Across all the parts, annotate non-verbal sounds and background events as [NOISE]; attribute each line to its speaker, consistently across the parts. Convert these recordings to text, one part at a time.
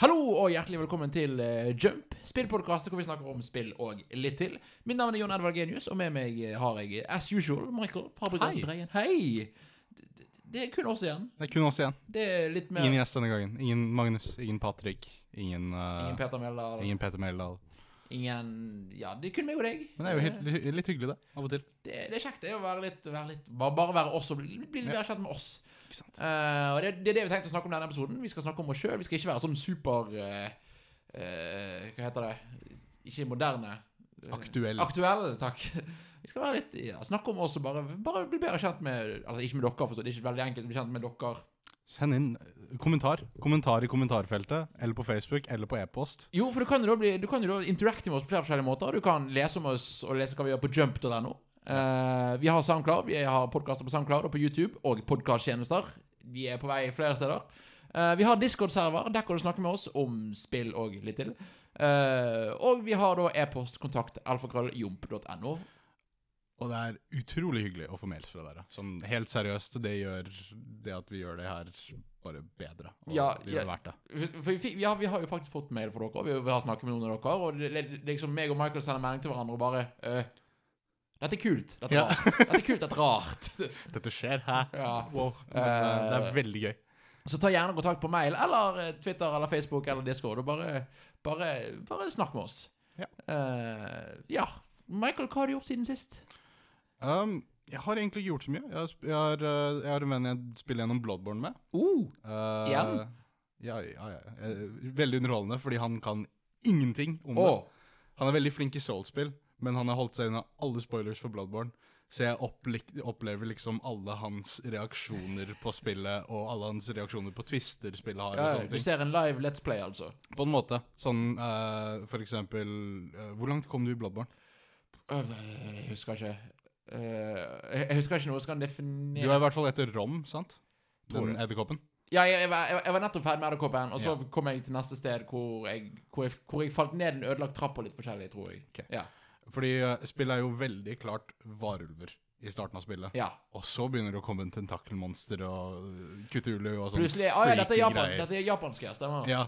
Speaker 1: Hallo og hjertelig velkommen til eh, Jump, spillpodkast hvor vi snakker om spill og litt til. Mitt navn er Jon Edvard Genius, og med meg eh, har jeg eh, as usual Michael Fabrikas
Speaker 2: Hei.
Speaker 1: Breien. Hei! Det- det- Det er kun oss igjen.
Speaker 2: Det er kun oss igjen.
Speaker 1: Det er litt mer
Speaker 2: Ingen gjest denne gangen. Ingen Magnus, ingen Patrick, ingen, eh,
Speaker 1: Ingen Peter Mjeldal. Ingen.
Speaker 2: ingen Peter Meldal.
Speaker 1: Ja, det er kun meg og deg.
Speaker 2: Men det er jo
Speaker 1: Eh,
Speaker 2: helt, hy- litt hyggelig, det. Av og til.
Speaker 1: det, det er kjekt det er å være litt, være litt bare, bare være oss og bli, bli litt bedre kjent med oss.
Speaker 2: Ikke sant?
Speaker 1: Eh, og det, det er det vi tenkte å snakke om i denne episoden. Vi skal snakke om oss sjøl. Vi skal ikke være sånn super eh, eh, Hva heter det? Ikke moderne. eh,
Speaker 2: Aktuell.
Speaker 1: Aktuell, takk. Vi skal være litt, ja, snakke om oss og bare, bare bli bedre kjent med Altså ikke med dere, forstå. Det er ikke veldig enkelt å bli kjent med dere.
Speaker 2: Send inn eh, kommentar. Kommentar i kommentarfeltet, eller på Facebook, eller på e-post.
Speaker 1: Jo, for du kan jo da, bli, du kan jo da interacte med oss på flere forskjellige måter. Du kan lese om oss og lese hva vi gjør på jump.no. Eh, vi har SoundCloud, vi har podkaster på SoundCloud og på YouTube, og podkasttjenester. Vi er på vei flere steder. Eh, vi har Discord-server, der kan du snakke med oss om spill og litt til. Eh, og vi har da e-postkontakt alfakrølljomp.no.
Speaker 2: Og det er utrolig hyggelig å få mails fra dere. Sånn helt seriøst, det gjør det at vi gjør det her bare bedre. Og
Speaker 1: Ja,
Speaker 2: det gjør
Speaker 1: ja.
Speaker 2: det verdt det.
Speaker 1: For vi, fikk- ja, vi har jo faktisk fått mail fra dere, og vi, vi har snakket med noen av dere. Og det, det, det er liksom meg og Michael sender melding til hverandre og bare eh, Dette er kult. Dette er
Speaker 2: Ja.
Speaker 1: rart. Dette er kult, dette er rart. [LAUGHS]
Speaker 2: Dette skjer, hæ?
Speaker 1: Ja.
Speaker 2: Wow. Men, eh, det er veldig gøy.
Speaker 1: Så ta gjerne kontakt på mail eller eh, Twitter eller Facebook eller Discord og bare, bare, bare snakk med oss.
Speaker 2: Ja.
Speaker 1: Eh, ja. Michael, hva har du gjort siden sist?
Speaker 2: Um, jeg har egentlig ikke gjort så mye. Jeg har, sp- jeg har, eh, jeg har en venn jeg spiller gjennom Bloodborne med. Eh,
Speaker 1: Igjen?
Speaker 2: Ja, ja, ja. Eh, Veldig underholdende, fordi han kan ingenting om
Speaker 1: Åh,
Speaker 2: det. Han er veldig flink i Soul-spill, men han har holdt seg unna alle spoilers for Bloodborne. Så jeg opplik- opplever liksom alle hans reaksjoner på spillet, og alle hans reaksjoner på twister spillet har.
Speaker 1: ja,
Speaker 2: og
Speaker 1: eh, du
Speaker 2: sånne ting.
Speaker 1: ser en live Let's Play, altså.
Speaker 2: På en måte. Sånn eh, for eksempel eh, Hvor langt kom du i Bloodborne?
Speaker 1: Øh, Jeg husker ikke Eh, Jeg jeg husker ikke noe som kan
Speaker 2: Du er
Speaker 1: definere
Speaker 2: i hvert fall etter Rom, sant?
Speaker 1: Tror
Speaker 2: Den edderkoppen.
Speaker 1: Ja, jeg, jeg, var- jeg, jeg var nettopp ferdig med Edderkoppen, og så
Speaker 2: Ja.
Speaker 1: kom jeg til neste sted hvor jeg, hvor jeg, hvor jeg falt ned en ødelagt trapp og litt forskjellig, tror jeg.
Speaker 2: Ok.
Speaker 1: Ja.
Speaker 2: Fordi eh, spillet er jo veldig klart varulver i starten av spillet.
Speaker 1: ja.
Speaker 2: Og så begynner det å komme en tentakelmonster og øh, Cthulhu og sånn.
Speaker 1: Plutselig ah, ja, dette er
Speaker 2: freaky
Speaker 1: Japan.
Speaker 2: greier.
Speaker 1: Dette er japansk, ja. Stemmer.
Speaker 2: Ja.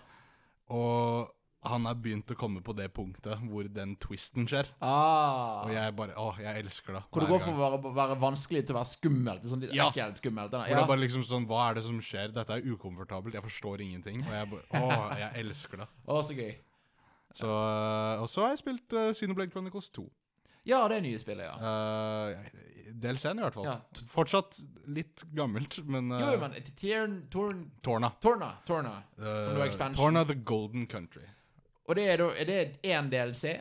Speaker 2: Og han er begynt å komme på det punktet hvor den twisten skjer.
Speaker 1: Ah.
Speaker 2: Og jeg bare Å, jeg elsker det.
Speaker 1: Hvor det
Speaker 2: hver
Speaker 1: går fra å
Speaker 2: gang.
Speaker 1: være, være vanskelig til å være skummelt. Sånn litt
Speaker 2: Ja.
Speaker 1: ekkelt skummelt.
Speaker 2: Hvor det
Speaker 1: Ja.
Speaker 2: er bare liksom sånn Hva er det som skjer? Dette er ukomfortabelt. Jeg forstår ingenting. Og jeg bare Å, jeg elsker det.
Speaker 1: Å, så gøy.
Speaker 2: Så, øh, og så har jeg spilt uh, Sinoblade Chronicles 2.
Speaker 1: Ja, det er nye spillet, ja.
Speaker 2: Uh, DLC-en, i hvert fall.
Speaker 1: Ja.
Speaker 2: T- Fortsatt litt gammelt, men uh,
Speaker 1: Jo, jo, men Tiern... Torn...
Speaker 2: Torna.
Speaker 1: Torna. Torna.
Speaker 2: Uh,
Speaker 1: du har expansion.
Speaker 2: Torna the Golden Country.
Speaker 1: Og det er da Er det én DLC?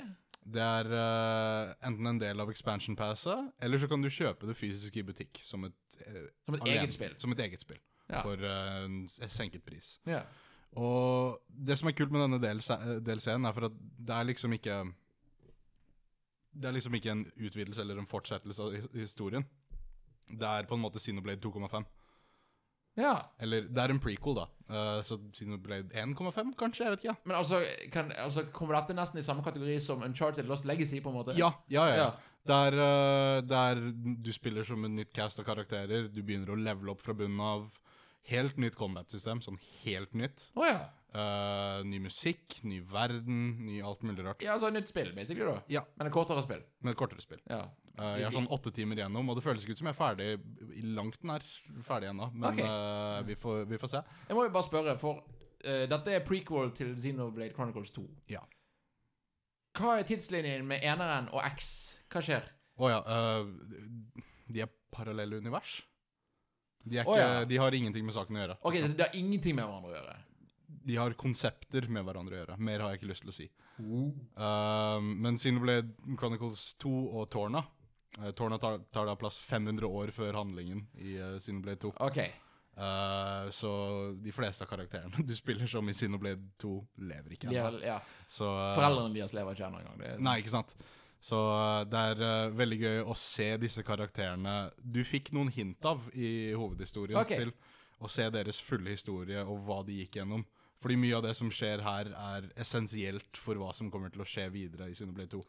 Speaker 2: Det er eh, enten en del av expansion passet, eller så kan du kjøpe det fysisk i butikk som et, eh,
Speaker 1: Som et
Speaker 2: alene-
Speaker 1: eget spill?
Speaker 2: Som et eget spill,
Speaker 1: Ja.
Speaker 2: for eh, en s- senket pris.
Speaker 1: Ja.
Speaker 2: Og det som er kult med denne DLC-en, er for at det er liksom ikke Det er liksom ikke en utvidelse eller en fortsettelse av his- historien. Det er på en måte Sinoblade 2,5.
Speaker 1: ja.
Speaker 2: Eller det er en prequel, da. Eh, så Sinoblade 1,5, kanskje? Jeg vet ikke.
Speaker 1: Men altså, kan, altså Kommer dette nesten i samme kategori som Uncharted Lost Legacy, på en måte?
Speaker 2: Ja, ja, ja. ja.
Speaker 1: Ja.
Speaker 2: Der, eh, der du spiller som en nytt cast av karakterer, du begynner å levele opp fra bunnen av. Helt nytt combat-system, sånn helt nytt.
Speaker 1: Å ja.
Speaker 2: Eh, ny musikk, ny verden, ny alt mulig rart.
Speaker 1: ja. Altså nytt spill, basically, da.
Speaker 2: Ja.
Speaker 1: Men et kortere spill.
Speaker 2: Med et kortere spill.
Speaker 1: Ja.
Speaker 2: Eh, jeg er sånn åtte timer igjennom, og det føles ikke ut som jeg er ferdig i langt nær ferdig ennå. Men
Speaker 1: Ok.
Speaker 2: eh, vi, får, vi får se.
Speaker 1: Jeg må jo bare spørre, for eh, dette er prequel til Xenoblade Chronicles 2.
Speaker 2: Ja.
Speaker 1: Hva er tidslinjen med eneren og X? Hva skjer?
Speaker 2: Å ja. eh, de er parallelle univers. De, er
Speaker 1: Å
Speaker 2: ikke,
Speaker 1: ja.
Speaker 2: de har ingenting med saken å gjøre.
Speaker 1: Ok, så det har ingenting med hverandre å gjøre.
Speaker 2: De har konsepter med hverandre å gjøre. Mer har jeg ikke lyst til å si. Ehm, men Sinoblade Chronicles 2 og Torna eh, Torna tar, tar da plass 500 år før handlingen i uh, Sinoblade 2.
Speaker 1: Ok.
Speaker 2: Eh, så de fleste av karakterene du spiller som i Sinoblade 2, lever ikke
Speaker 1: De
Speaker 2: ennå.
Speaker 1: har, ja.
Speaker 2: Så, eh,
Speaker 1: Foreldrene deres lever ikke ennå engang. Det er-
Speaker 2: Nei, ikke sant. Så eh, det er eh, veldig gøy å se disse karakterene du fikk noen hint av i hovedhistorien
Speaker 1: Ok.
Speaker 2: til. Å se deres fulle historie og hva de gikk gjennom. Fordi mye av det som skjer her, er essensielt for hva som kommer til å skje videre i Sinoblade 2.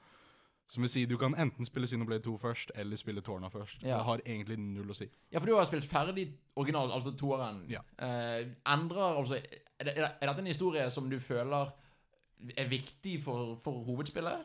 Speaker 2: Som vil si, du kan enten spille Sinoblade 2 først, eller spille Tårna først.
Speaker 1: Ja.
Speaker 2: Det har egentlig null å si.
Speaker 1: Ja, for du har spilt ferdig original, altså toeren.
Speaker 2: Ja.
Speaker 1: Eh, endrer altså Er, det, er det- er dette en historie som du føler er viktig for, for hovedspillet?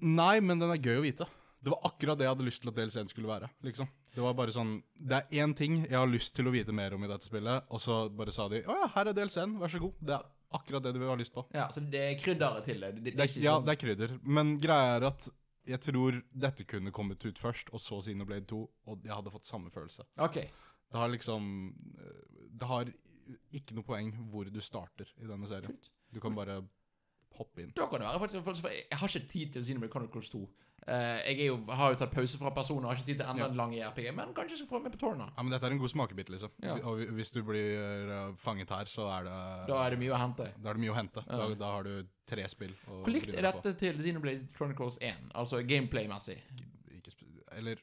Speaker 2: Nei, men den er gøy å vite. Det var akkurat det jeg hadde lyst til at DLC-en skulle være. liksom. Det var bare sånn, det er én ting jeg har lyst til å vite mer om i dette spillet, og så bare sa de å ja, her er DLC-en, vær så god. Det er akkurat det du har lyst på.
Speaker 1: Ja, så det er krydderet til det. det, det,
Speaker 2: Det
Speaker 1: er
Speaker 2: er,
Speaker 1: ikke
Speaker 2: ja,
Speaker 1: sånn-
Speaker 2: det er krydder. Men greia er at jeg tror dette kunne kommet ut først, og så Xenoblade 2, og jeg hadde fått samme følelse.
Speaker 1: Ok,
Speaker 2: Det har liksom øh, Det har ikke noe poeng hvor du starter i denne serien.
Speaker 1: kult.
Speaker 2: Du kan bare hoppe inn.
Speaker 1: Da kan det være faktisk, faktisk for jeg, jeg har ikke tid til Xenoblade Chronicles 2. Eh, jeg er jo, har jo tatt pause fra personer, har ikke tid til enda en lang E RPG, men kanskje jeg skal prøve meg på Torna.
Speaker 2: Ja, men Dette er en god smakebit, liksom.
Speaker 1: Ja.
Speaker 2: Og hvi- hvis du blir øh, fanget her, så er det
Speaker 1: Da er det mye å hente.
Speaker 2: Da er det mye å hente. Da,
Speaker 1: Ja.
Speaker 2: da har du tre spill. å
Speaker 1: Hvor likt
Speaker 2: bry
Speaker 1: er
Speaker 2: deg
Speaker 1: dette til Xenoblade Chronicles 1? Altså gameplay-messig.
Speaker 2: på. Ikke sp- eller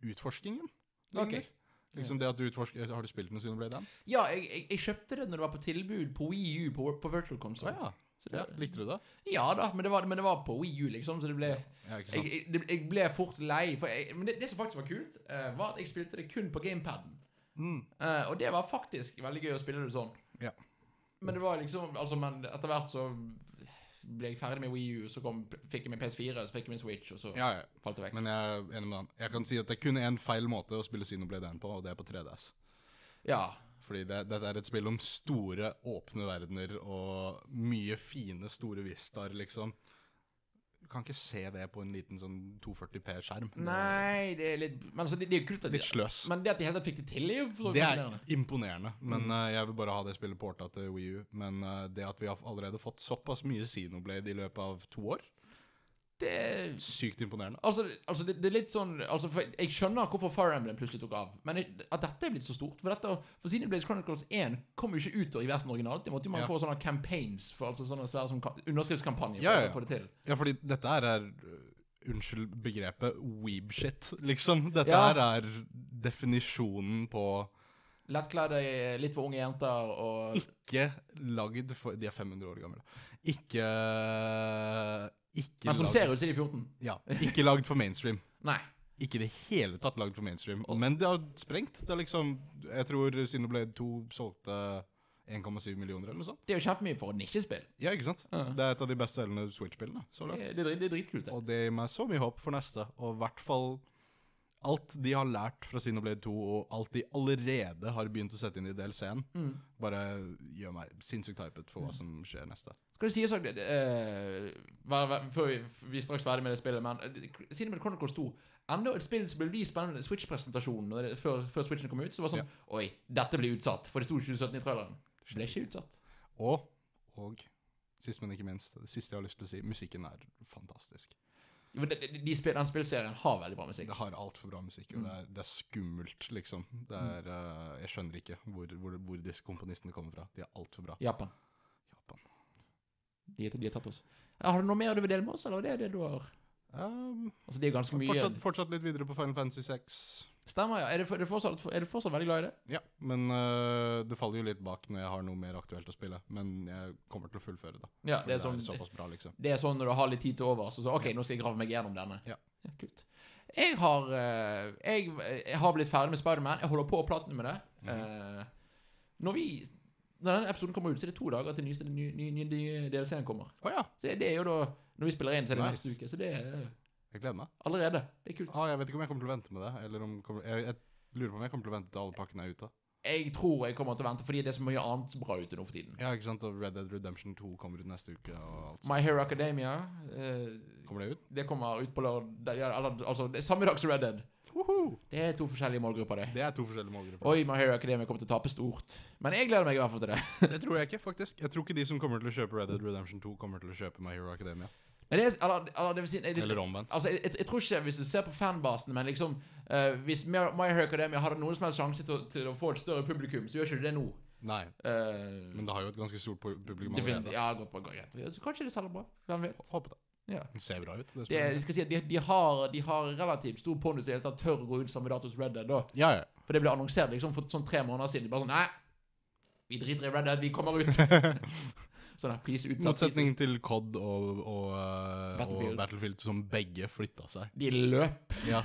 Speaker 2: utforskingen.
Speaker 1: Ok.
Speaker 2: ligner. Liksom det at du utforsker Har du spilt noe Xenoblade 1?
Speaker 1: Ja, jeg, jeg, jeg kjøpte det når det var på tilbud på Wii U på, på Virtual
Speaker 2: Å
Speaker 1: Console.
Speaker 2: ja.
Speaker 1: Så
Speaker 2: ja.
Speaker 1: det,
Speaker 2: Likte du det?
Speaker 1: ja da, men det, var, men det var på Wii U, liksom, så det ble
Speaker 2: Ja, ikke
Speaker 1: Jeg,
Speaker 2: sant?
Speaker 1: jeg, det- jeg ble fort lei. For jeg, men det, det som faktisk var kult, eh, var at jeg spilte det kun på gamepaden.
Speaker 2: Mm.
Speaker 1: Eh, og det var faktisk veldig gøy å spille det sånn.
Speaker 2: Ja.
Speaker 1: Men det var liksom altså, Men etter hvert så ble jeg ferdig med Wii U, så kom, fikk jeg min PS4, så fikk jeg min Switch, og så
Speaker 2: Ja, ja.
Speaker 1: falt det vekk.
Speaker 2: Men jeg er enig med han. Jeg kan si at det er kun én feil måte å spille Xenoblade 1 på, og det er på 3DS.
Speaker 1: ja.
Speaker 2: Fordi det, dette er et spill om store, åpne verdener og mye fine, store vistaer, liksom. Du kan ikke se det på en liten sånn 240P-skjerm.
Speaker 1: Nei, det er litt Men altså, det, det er jo kult at de,
Speaker 2: Litt sløs.
Speaker 1: Men det at de hele tatt fikk det til, er jo for så vidt
Speaker 2: Det er
Speaker 1: fascinerende.
Speaker 2: imponerende, men eh, jeg vil bare ha det spillet porta til Wii U. Men eh, det at vi har allerede fått såpass mye Xenoblade i løpet av to år,
Speaker 1: Det er
Speaker 2: sykt imponerende.
Speaker 1: Altså, altså det, det er litt sånn altså, for Jeg skjønner hvorfor Fire Emblem plutselig tok av. Men jeg, at dette er blitt så stort For, dette, for siden Blaze Chronicles 1 kom jo ikke ut i versen originalt. Det måtte jo man
Speaker 2: Ja.
Speaker 1: få sånne campaigns for, altså sånne svære som, ka- underskriftskampanjer for
Speaker 2: Ja, ja,
Speaker 1: å få det til.
Speaker 2: Ja, fordi dette her er øh, Unnskyld begrepet weeb-shit, [LAUGHS] liksom. Dette
Speaker 1: Ja.
Speaker 2: her er definisjonen på
Speaker 1: Lettkledde eh, litt for unge jenter og
Speaker 2: ikke lagd for De er 500 år gamle. Ikke Ikke
Speaker 1: Men som
Speaker 2: lagd-
Speaker 1: ser ut som de er 14.
Speaker 2: Ja. Ikke lagd for mainstream.
Speaker 1: Nei.
Speaker 2: Ikke i det hele tatt lagd for mainstream. Men det har sprengt. Det er liksom Jeg tror Xenoblade 2 solgte 1,7 millioner eller noe sånt.
Speaker 1: Det er jo kjempemye for et nisjespill.
Speaker 2: Ja, ikke sant?
Speaker 1: Ja.
Speaker 2: Det er et av de best selgende Switch-spillene så
Speaker 1: Det,
Speaker 2: langt.
Speaker 1: det, er drit- det er dritkult. det.
Speaker 2: Og det gir meg så mye håp for neste, og i hvert fall alt de har lært fra Xenoblade 2, og alt de allerede har begynt å sette inn i DLC-en,
Speaker 1: Mm.
Speaker 2: bare gjør meg sinnssykt hypet for hva som skjer neste.
Speaker 1: Skal det sies òg Før vi, vi er straks ferdig med det spillet, men eh, siden med Chronicles 2 Enda et spill som ble vist spennende Switch-presentasjonen når det- før, før Switchen kom ut. Så var det sånn Oi, dette ble utsatt, for det sto 2017 i traileren. Det ble ikke utsatt.
Speaker 2: Og, og sist, men ikke minst, det siste jeg har lyst til å si, musikken er fantastisk.
Speaker 1: Men de, de, de spill, den spillserien har veldig bra musikk.
Speaker 2: Det har altfor bra musikk, og
Speaker 1: Mm.
Speaker 2: det er, det er skummelt, liksom. Det er, eh, jeg skjønner ikke hvor, hvor, hvor disse komponistene kommer fra. De er altfor bra.
Speaker 1: Japan.
Speaker 2: Japan.
Speaker 1: De, de har tatt oss. Ja, har du noe mer du vil dele med oss, eller er det det du har
Speaker 2: Um,
Speaker 1: Altså, det er jo ganske mye
Speaker 2: fortsatt, fortsatt litt videre på Final Fantasy 6.
Speaker 1: Stemmer, ja. Er du fortsatt, er du fortsatt veldig glad i det?
Speaker 2: Ja, men øh, det faller jo litt bak når jeg har noe mer aktuelt å spille. Men jeg kommer til å fullføre det.
Speaker 1: Ja,
Speaker 2: For
Speaker 1: det er sånn
Speaker 2: såpass bra, liksom.
Speaker 1: Det er sånn når du har litt tid til over, så, så OK, nå skal jeg grave meg gjennom denne.
Speaker 2: Ja.
Speaker 1: kult. Jeg har, eh, jeg, jeg har blitt ferdig med Spiderman. Jeg holder på å platne med det.
Speaker 2: Mhm.
Speaker 1: Eh, når vi Når denne episoden kommer ut, så er det to dager til nyeste ny, ny, ny, ny DLC-en kommer.
Speaker 2: Å ja,
Speaker 1: Så det er jo da Når vi spiller inn, så er det
Speaker 2: Nice.
Speaker 1: neste uke. Så det er
Speaker 2: jeg gleder meg.
Speaker 1: allerede. Det er kult.
Speaker 2: Ah, jeg vet ikke om jeg kommer til å vente med det. Eller om kommer, jeg, jeg lurer på om jeg kommer til å vente til alle pakkene er ute.
Speaker 1: Jeg tror jeg kommer til å vente, fordi det er så mye annet så bra ute nå for tiden.
Speaker 2: Ja, ikke sant? Og Red Dead Redemption 2 kommer ut neste uke. og alt
Speaker 1: My Hero Academia eh,
Speaker 2: Kommer det ut?
Speaker 1: Det kommer ut på lørdag ja, eller, Altså, det er samme dag som Red Dead.
Speaker 2: Woho!
Speaker 1: Det er to forskjellige målgrupper, det.
Speaker 2: Det er to forskjellige målgrupper.
Speaker 1: Oi, My Hero Academia kommer til å tape stort. Men jeg gleder meg i hvert fall til det.
Speaker 2: Det tror jeg ikke, faktisk. Jeg tror ikke de som kommer til å kjøpe Red Dead Redemption 2, kommer til å kjøpe My Hero Academia.
Speaker 1: Nei, det er, eller, eller, det vil si, jeg,
Speaker 2: Eller omvendt.
Speaker 1: altså, jeg, jeg, jeg tror ikke, hvis du ser på fanbasen, men liksom eh, Hvis My My Hero Academia hadde noen som helst sjanse til, å- til å få et større publikum, så gjør ikke du det nå.
Speaker 2: Nei,
Speaker 1: Eh,
Speaker 2: men det har jo et ganske stort pu- publikum
Speaker 1: definitivt-
Speaker 2: allerede.
Speaker 1: ja, godt på, godt, greit. Ja, så Kanskje det selger bra. Hvem vet?
Speaker 2: Håper det.
Speaker 1: Ja.
Speaker 2: Den ser bra ut. Det
Speaker 1: Det,
Speaker 2: spiller.
Speaker 1: jeg skal si at de, de, har, de har relativt stor pondus i det hele tatt tør å gå ut samme dato som Red Dead. da
Speaker 2: Ja, ja.
Speaker 1: For det ble annonsert liksom for sånn tre måneder siden. De Bare sånn Nei, vi driter i Red Dead, vi kommer ut.
Speaker 2: [LAUGHS]
Speaker 1: sånn her, please utsatt.
Speaker 2: Motsetning til COD og, og, eh,
Speaker 1: Battlefield. [LAUGHS]
Speaker 2: og Battlefield, som begge flytta seg.
Speaker 1: please. De løp.
Speaker 2: Ja.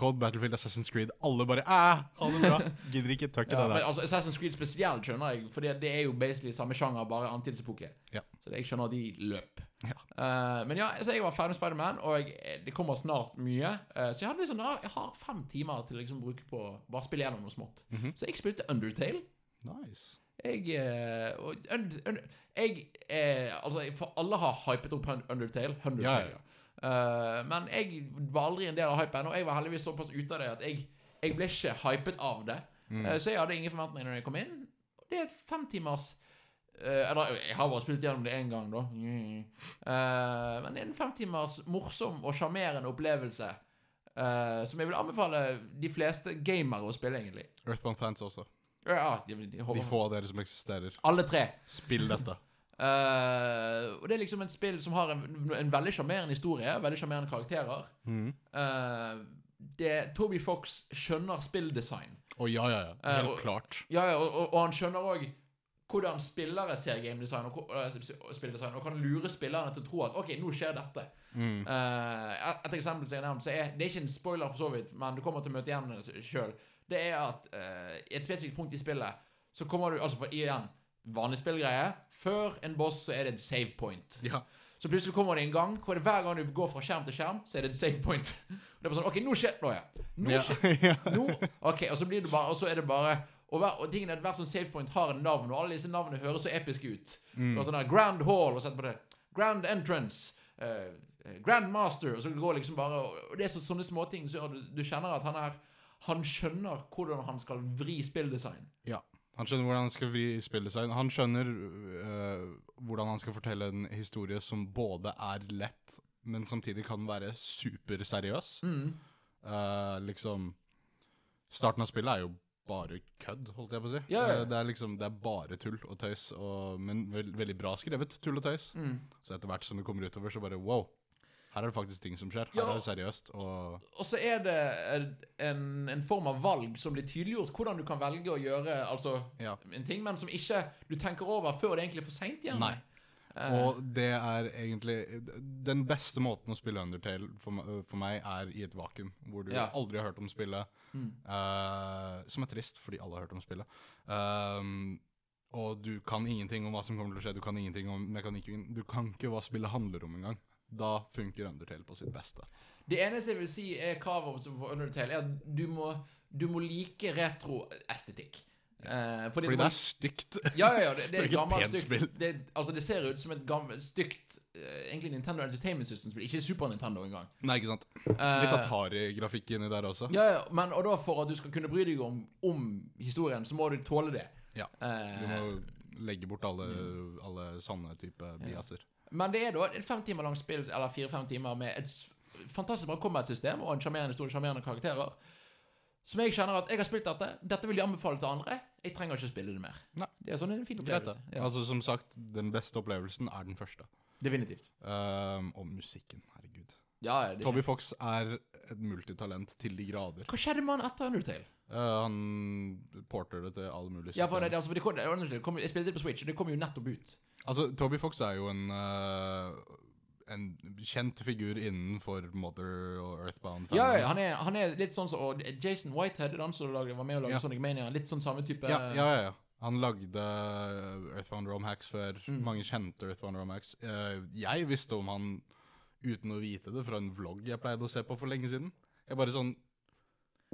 Speaker 2: Cold Battlefield, Assassin's Creed. Alle bare Æh, ha
Speaker 1: [LAUGHS]
Speaker 2: det bra! Gidder ikke tøkke
Speaker 1: Ja,
Speaker 2: det
Speaker 1: men
Speaker 2: der.
Speaker 1: altså Assassin's Creed spesielt skjønner jeg, for det er jo basically samme sjanger, bare annen tidsepoke.
Speaker 2: Ja.
Speaker 1: Så det, jeg skjønner at de løp.
Speaker 2: Ja.
Speaker 1: Eh, men ja, så jeg var ferdig med Spiderman, og jeg, eh, det kommer snart mye. Eh, så jeg hadde liksom, jeg har fem timer til liksom å bruke på å bare spille gjennom noe smått.
Speaker 2: Mhm.
Speaker 1: Så jeg spilte Undertale.
Speaker 2: Nice.
Speaker 1: Jeg, eh, og und, und, jeg eh, Altså, jeg- for alle har hypet opp Hun- Undertale.
Speaker 2: Ja, ja.
Speaker 1: Undertale ja. Eh, men jeg var aldri en del av hypen, og jeg var heldigvis såpass ute av det at jeg, jeg ble ikke hypet av det.
Speaker 2: Mm.
Speaker 1: Eh, så jeg hadde ingen forventninger når jeg kom inn. Og Det er et femtimers eh, Eller jeg har bare spilt gjennom det én gang, da. Eh, men det er en femtimers morsom og sjarmerende opplevelse eh, som jeg vil anbefale de fleste gamere å spille, egentlig.
Speaker 2: Earthbound fans også.
Speaker 1: Ja, de, de,
Speaker 2: De få av dere som eksisterer.
Speaker 1: Alle tre.
Speaker 2: Spill dette.
Speaker 1: Eh, og det er liksom et spill som har en, en veldig sjarmerende historie, veldig sjarmerende karakterer.
Speaker 2: Mm.
Speaker 1: Eh, det, Toby Fox skjønner spilldesign.
Speaker 2: Og ja, ja, ja.
Speaker 1: Eh,
Speaker 2: Helt
Speaker 1: og-
Speaker 2: klart.
Speaker 1: Ja, ja, og, og, og han skjønner òg hvordan spillere ser gamedesign og, hvor- eh, spilldesign, og kan lure spillerne til å tro at OK, nå skjer dette.
Speaker 2: Mm.
Speaker 1: Eh, et- et eksempel som jeg nevnte, så er det er ikke en spoiler for så vidt, men du kommer til å møte igjen det sjøl. Det er at eh, i et spesifikt punkt i spillet så kommer du altså for igjen vanlig spillgreie. Før en boss så er det et save point.
Speaker 2: Ja.
Speaker 1: Så plutselig kommer det en gang hvor det hver gang du går fra skjerm til skjerm, så er det et save point. [LAUGHS] Og det er bare sånn OK, nå skjer nå, ja. Nå
Speaker 2: Ja.
Speaker 1: skjer
Speaker 2: [LAUGHS] ja.
Speaker 1: nå, ok, og så blir det bare Og så er det bare og, hver, og tingen er at Hvert sånn savepoint har en navn, og alle disse navnene høres så episke ut.
Speaker 2: Mm.
Speaker 1: Og sånn der Grand Hall, og sett på det. Grand Entrance. eh, Grand Master. Og så går liksom bare Og det er så, sånne småting så du, du kjenner at han er Han skjønner hvordan han skal vri spilldesign.
Speaker 2: Han skjønner hvordan han skal vri spilldesign. Han skjønner øh, hvordan han skal fortelle en historie som både er lett, men samtidig kan være superseriøs.
Speaker 1: Mm.
Speaker 2: Eh, liksom Starten av spillet er jo bare kødd, holdt jeg på å si.
Speaker 1: Ja, ja.
Speaker 2: Eh, Det er liksom, det er bare tull og tøys, og, men vel- veldig bra skrevet tull og tøys.
Speaker 1: Mm.
Speaker 2: Så etter hvert som det kommer utover, så bare wow. Her er det faktisk ting som skjer. Her
Speaker 1: Ja.
Speaker 2: er det seriøst. Og
Speaker 1: Og så er det en, en form av valg som blir tydeliggjort. Hvordan du kan velge å gjøre altså,
Speaker 2: ja.
Speaker 1: en ting, men som ikke du tenker over før det egentlig er for Eh, seint.
Speaker 2: Nei. Og det er egentlig Den beste måten å spille Undertale for, me- for meg er i et vakuum, hvor du
Speaker 1: Ja.
Speaker 2: aldri har hørt om spillet.
Speaker 1: Mm.
Speaker 2: eh, som er trist, fordi alle har hørt om spillet. Ehm, og du kan ingenting om hva som kommer til å skje, du kan ingenting om mekanikken. Du kan ikke hva spillet handler om engang. Da funker Undertale på sitt beste.
Speaker 1: Det eneste jeg vil si er kravet om- for Undertale, er at du må, du må like retroestetikk. Eh, fordi
Speaker 2: Fordi
Speaker 1: må-
Speaker 2: det er stygt. [LAUGHS]
Speaker 1: ja, ja, ja, det, det
Speaker 2: er
Speaker 1: er
Speaker 2: ikke et
Speaker 1: gammelt
Speaker 2: pent
Speaker 1: stygt
Speaker 2: spill.
Speaker 1: det, altså, det ser ut som et gammelt stygt eh, Egentlig Nintendo Entertainment System-spill, ikke Super Nintendo engang.
Speaker 2: Nei, ikke sant. Litt
Speaker 1: Eh,
Speaker 2: Atari-grafikk inni der også.
Speaker 1: ja, ja, men, og da for at du skal kunne bry deg om, om historien, så må du tåle det.
Speaker 2: Ja. Du
Speaker 1: Eh,
Speaker 2: må legge bort alle, alle sanne type biaser.
Speaker 1: Men det er da et fem timer langt spill, eller fire-fem timer, med et s- fantastisk bra combat-system og en sjarmerende historie, sjarmerende karakterer. Som jeg kjenner at jeg har spilt dette. Dette vil jeg anbefale til andre. Jeg trenger ikke spille det mer.
Speaker 2: Nei.
Speaker 1: Det er sånn en fin
Speaker 2: Greit,
Speaker 1: opplevelse.
Speaker 2: det.
Speaker 1: Ja.
Speaker 2: Altså, som sagt, den beste opplevelsen er den første.
Speaker 1: Definitivt.
Speaker 2: Ehm, og musikken, herregud.
Speaker 1: Ja, ja, det
Speaker 2: Toby Fox er et multitalent til de grader.
Speaker 1: Hva skjedde med han etter Undertale?
Speaker 2: Eh, han porter det til alle mulige
Speaker 1: Ja, for det,
Speaker 2: systemer.
Speaker 1: det, altså, for det kom, Undertale kom, jeg spilte det på Switch, og det kom jo nettopp ut.
Speaker 2: Altså, Toby Fox er jo en eh, en kjent figur innenfor Mother og Earthbound.
Speaker 1: Ja, ja, han er, han er litt sånn som og Jason Whitehead, han som lagde- var med og lagde
Speaker 2: Ja.
Speaker 1: Sonic Mania. Litt sånn samme type
Speaker 2: ja, ja, ja, ja. Han lagde Earthbound Romhacks før.
Speaker 1: Mm.
Speaker 2: Mange kjente Earthbound Romhacks. Uh, jeg visste om han uten å vite det fra en vlogg jeg pleide å se på for lenge siden. Jeg bare sånn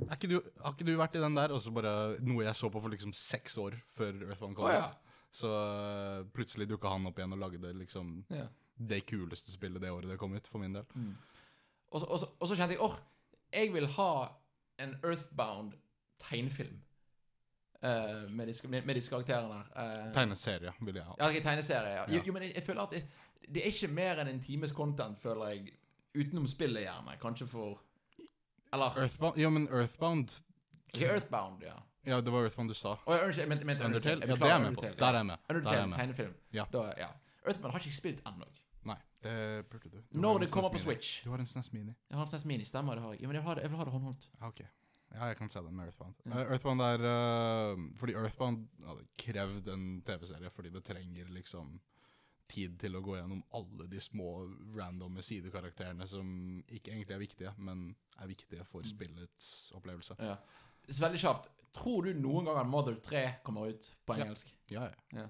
Speaker 2: er ikke du, Har ikke du vært i den der? Og så bare noe jeg så på for liksom seks år før Earthbound kom
Speaker 1: Å,
Speaker 2: ut.
Speaker 1: ja.
Speaker 2: Så eh, plutselig dukka han opp igjen og lagde liksom
Speaker 1: Ja.
Speaker 2: det kuleste spillet det året det kom ut, for min del.
Speaker 1: Og så, og, så, og så kjente jeg åh, jeg vil ha en Earthbound tegnefilm. eh, med, disse, med, med disse karakterene her. Eh,
Speaker 2: Tegneserie ville jeg ha.
Speaker 1: ja, ok, tegneserie. Ja. Jo,
Speaker 2: Ja.
Speaker 1: jo, men jeg, jeg føler at det, det er ikke mer enn en times content, føler jeg, utenom spillet, gjerne. Kanskje for Eller
Speaker 2: Earthbound, ja, men Earthbound
Speaker 1: ok, Earthbound, ja.
Speaker 2: Ja, det var Earthbound du sa.
Speaker 1: Å, jeg, jeg mente, jeg mente
Speaker 2: Undertale?
Speaker 1: Jeg
Speaker 2: Ja, det er
Speaker 1: beklager,
Speaker 2: jeg med på.
Speaker 1: Undertale,
Speaker 2: Der er jeg med.
Speaker 1: ja.
Speaker 2: Der er jeg
Speaker 1: Undertale,
Speaker 2: med.
Speaker 1: tegnefilm.
Speaker 2: Ja.
Speaker 1: Da, ja. Earthbound har jeg ikke spilt ennå.
Speaker 2: Nei, det burde du. du har
Speaker 1: Når
Speaker 2: en
Speaker 1: det kommer på
Speaker 2: SNES Mini.
Speaker 1: Switch.
Speaker 2: Du har en SNES Mini.
Speaker 1: Jeg har en SNES Mini, stemmer det har jeg. Ja, men jeg, har det, jeg vil ha det håndholdt.
Speaker 2: Ja, ok. Ja, jeg kan se den med Earthbound.
Speaker 1: Ja.
Speaker 2: Eh, Earthbound er eh, Fordi Earthbound hadde krevd en TV-serie, fordi det trenger liksom tid til å gå gjennom alle de små randomme sidekarakterene som ikke egentlig er viktige, men er viktige
Speaker 1: Mm.
Speaker 2: for spillets opplevelse.
Speaker 1: Ja. Så veldig kjapt. Tror du noen gang at Mother 3 kommer ut på
Speaker 2: Ja.
Speaker 1: engelsk?
Speaker 2: Ja, ja.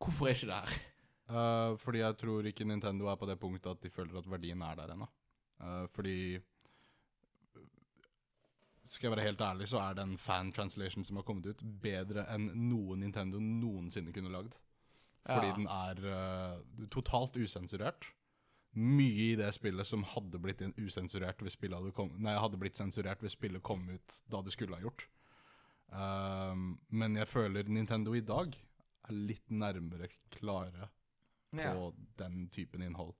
Speaker 1: Hvorfor er ikke det her?
Speaker 2: Eh, fordi jeg tror ikke Nintendo er på det punktet at de føler at verdien er der ennå. Eh, fordi Skal jeg være helt ærlig, så er den fan translation som har kommet ut, bedre enn noe Nintendo noensinne kunne lagd. Fordi
Speaker 1: Ja.
Speaker 2: den er eh, totalt usensurert. Mye i det spillet som hadde blitt in- usensurert hvis spillet hadde kom Nei, hadde blitt sensurert hvis spillet kom ut da det skulle ha gjort. Ehm, men jeg føler Nintendo i dag er litt nærmere klare
Speaker 1: Ja.
Speaker 2: på den typen innhold.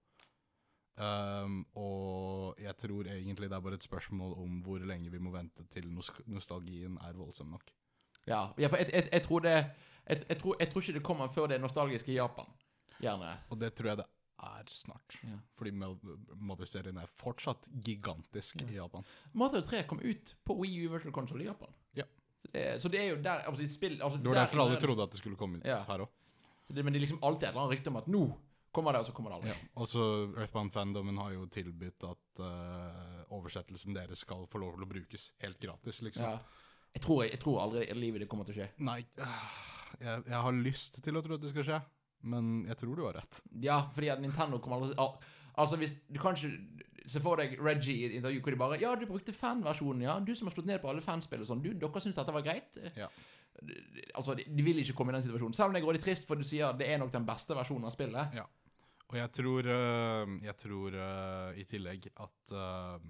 Speaker 2: Ehm, og jeg tror egentlig det er bare et spørsmål om hvor lenge vi må vente til nos nostalgien er voldsom nok.
Speaker 1: Ja, ja for jeg, jeg, jeg tror det jeg, jeg, tror, jeg tror ikke det kommer før det nostalgiske Japan. Gjerne.
Speaker 2: Og det tror jeg det er snart.
Speaker 1: Ja.
Speaker 2: Fordi Mother-serien er fortsatt gigantisk i Japan.
Speaker 1: Mother 3 kom ut på Wii U Virtual Console i Japan.
Speaker 2: Ja.
Speaker 1: Så det, er- så det er jo der altså, i spill, altså,
Speaker 2: Det var
Speaker 1: der
Speaker 2: derfor alle
Speaker 1: ignoreres-
Speaker 2: trodde at det skulle komme ut
Speaker 1: Ja.
Speaker 2: her òg.
Speaker 1: Så det, men det er liksom alltid et eller annet rykte om at nå kommer det, og så kommer det aldri.
Speaker 2: Ja. Også Earthbound-fandomen har jo tilbudt at eh, oversettelsen deres skal få lov til å brukes helt gratis, liksom.
Speaker 1: Ja. Jeg, tror, jeg tror aldri i livet det kommer til å skje.
Speaker 2: Nei, ah, jeg, jeg har lyst til å tro at det skal skje, men jeg tror du har rett.
Speaker 1: Ja, fordi at Nintendo kommer aldri al Altså, hvis du kan ikke se for deg Reggie i et intervju hvor de bare Ja, du brukte fanversjonen, ja. Du som har slått ned på alle fanspill og sånn. Du, dere syns dette var greit?
Speaker 2: Ja.
Speaker 1: Altså, de, de vil ikke komme i den situasjonen. Selv om det er grådig trist, for du sier det er nok den beste versjonen av spillet.
Speaker 2: Og jeg tror, øh, jeg tror øh, i tillegg at øh,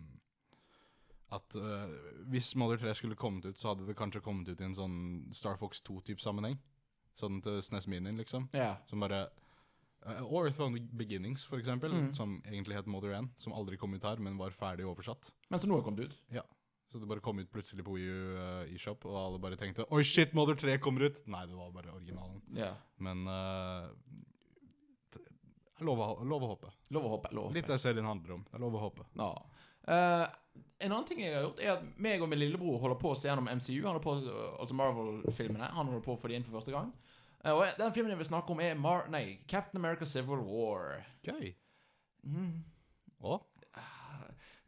Speaker 2: at øh, hvis Mother 3 skulle kommet ut, så hadde det kanskje kommet ut i en sånn Star Fox 2-type sammenheng. Sånn til SNES Mini, liksom.
Speaker 1: Ja.
Speaker 2: Som bare øh, Og Earthbound Beginnings, for eksempel,
Speaker 1: Mm.
Speaker 2: som egentlig het Mother 1, som aldri kom ut her, men var ferdig oversatt.
Speaker 1: Men så nå har det kommet ut.
Speaker 2: Så det bare kom ut plutselig på Wii U øh, eShop, og alle bare tenkte Oi, shit, Mother 3 kommer ut! Nei, det var bare originalen.
Speaker 1: Ja.
Speaker 2: Men øh, t- lov, å, lov å håpe.
Speaker 1: Lov å håpe. Lov å håpe.
Speaker 2: Litt det serien handler om. Det er lov å håpe.
Speaker 1: Ja. Eh, en annen ting jeg har gjort, er at meg og min lillebror holder på å se gjennom MCU, han holder på, altså Marvel-filmene. Han holder på å få de inn for første gang. Eh, og den filmen jeg vil snakke om, er Mar nei, Captain America Civil War.
Speaker 2: Gøy.
Speaker 1: Mm.
Speaker 2: Å?
Speaker 1: Eh,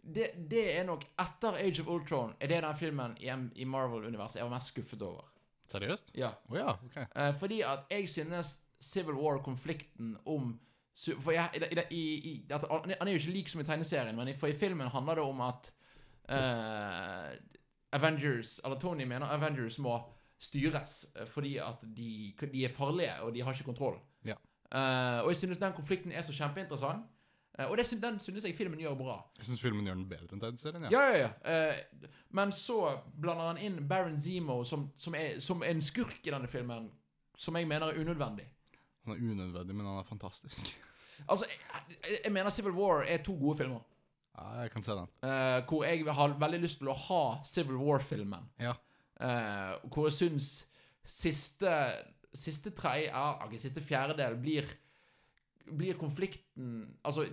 Speaker 1: Det, det er nok etter Age of Ultron er det den filmen i, M- i Marvel-universet jeg var mest skuffet over.
Speaker 2: Seriøst?
Speaker 1: Ja.
Speaker 2: Å ja. ok.
Speaker 1: Eh, fordi at jeg synes Civil War-konflikten om su- For jeg, i, i, i, i, at, han han er jo ikke lik som i tegneserien, men i, for i filmen handler det om at eh, Avengers Eller Tony mener Avengers må styres eh, fordi at de, de er farlige, og de har ikke kontroll.
Speaker 2: Ja.
Speaker 1: Eh, og jeg synes den konflikten er så kjempeinteressant. Eh, og det, syn- den synes jeg filmen gjør bra.
Speaker 2: Jeg syns filmen gjør den bedre enn tegneserien.
Speaker 1: Ja, ja, ja. Eh, men så blander han inn Baron Zemo som, som, er, som en skurk i denne filmen, som jeg mener er unødvendig.
Speaker 2: Han er unødvendig, men han er fantastisk. [LAUGHS]
Speaker 1: Altså, jeg, jeg- jeg mener Civil War er to gode filmer.
Speaker 2: Ja, jeg kan se den.
Speaker 1: eh, hvor jeg har veldig lyst til å ha Civil War-filmen.
Speaker 2: Ja.
Speaker 1: Eh, hvor jeg syns siste Siste tre, ja, ok, siste fjerdedel blir blir konflikten Altså,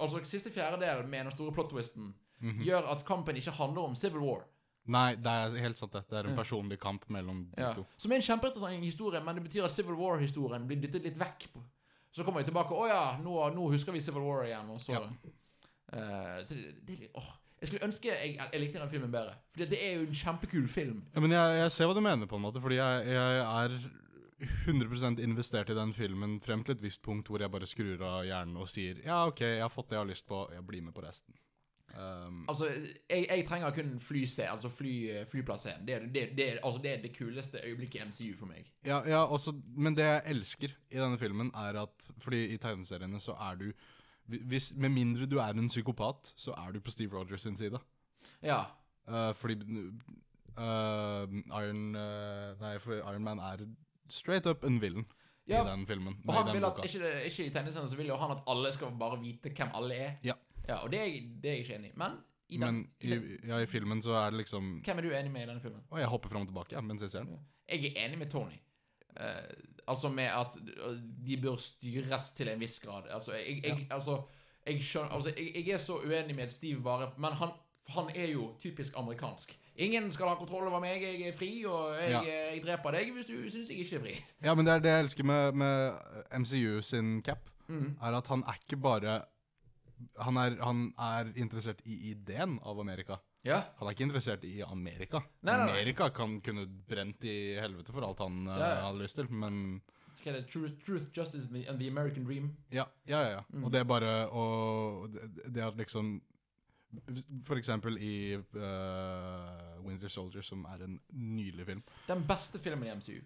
Speaker 1: altså siste fjerdedel med den store plot-twisten
Speaker 2: Mhm.
Speaker 1: gjør at kampen ikke handler om Civil War.
Speaker 2: Nei, det er helt sant, det. Det er en
Speaker 1: Ja.
Speaker 2: personlig kamp mellom de
Speaker 1: Ja.
Speaker 2: to.
Speaker 1: Som er en kjempeinteressant historie, men det betyr at Civil War-historien blir dyttet litt vekk. på- Så kommer vi tilbake. Å ja, nå, nå husker vi Civil War igjen. Og så,
Speaker 2: Ja.
Speaker 1: Eh, så det, det er litt åh. Jeg skulle ønske jeg, jeg likte den filmen bedre. For det er jo en kjempekul film.
Speaker 2: Ja, men jeg, jeg ser hva du mener, på en måte, fordi jeg, jeg er 100 investert i den filmen frem til et visst punkt hvor jeg bare skrur av hjernen og sier ja, OK, jeg har fått det jeg har lyst på, jeg blir med på resten. Um,
Speaker 1: Altså, Jeg, jeg trenger kun flyscenen, altså fly, flyplassen. Det, er- det, det, er- altså, det er det kuleste øyeblikket i MCU for meg.
Speaker 2: Ja, ja også, men det jeg elsker i denne filmen er at Fordi i tegneseriene så er du hvi- hvis, Med mindre du er en psykopat, så er du på Steve Rogers sin side.
Speaker 1: Ja.
Speaker 2: Eh, fordi eh, Iron eh, Nei, for Iron Man er straight up en villain
Speaker 1: ja
Speaker 2: i den filmen.
Speaker 1: og
Speaker 2: nei, i
Speaker 1: han
Speaker 2: den
Speaker 1: vil at,
Speaker 2: boka.
Speaker 1: ikke, det- ikke i tegneseriene så vil jo han at alle skal bare vite hvem alle er.
Speaker 2: Ja.
Speaker 1: ja og det er, jeg- det er jeg ikke enig i. Men, i den,
Speaker 2: Men
Speaker 1: i den,
Speaker 2: i, ja, i filmen så er det liksom
Speaker 1: hvem er du enig med i denne filmen?
Speaker 2: Og jeg hopper fram og tilbake ja, mens jeg ser den.
Speaker 1: Jeg er enig med Tony. Eh, altså med at de bør styres til en viss grad. Altså, jeg, jeg, altså, jeg skjønner altså, jeg, jeg er så uenig med Steve bare, men han, han er jo typisk amerikansk. Ingen skal ha kontroll over meg, jeg er fri, og jeg,
Speaker 2: Ja.
Speaker 1: jeg dreper deg hvis du syns jeg ikke er fri.
Speaker 2: Ja, men det er det jeg elsker med, med MCU sin cap.
Speaker 1: Mm.
Speaker 2: er at han er ikke bare han er, han er interessert i ideen av Amerika.
Speaker 1: Ja.
Speaker 2: Han er ikke interessert i Amerika.
Speaker 1: Nei, nei, nei.
Speaker 2: Amerika kan kunne brent i helvete for alt han eh,
Speaker 1: Ja, ja.
Speaker 2: hadde lyst til, men
Speaker 1: Hva er det? Truth, truth, justice and the- and the American dream.
Speaker 2: Ja, ja, ja. ja.
Speaker 1: Mm.
Speaker 2: Og det er bare å det- Det at liksom For eksempel i eh, Winter Soldier, som er en nydelig film.
Speaker 1: Den beste filmen i MCU.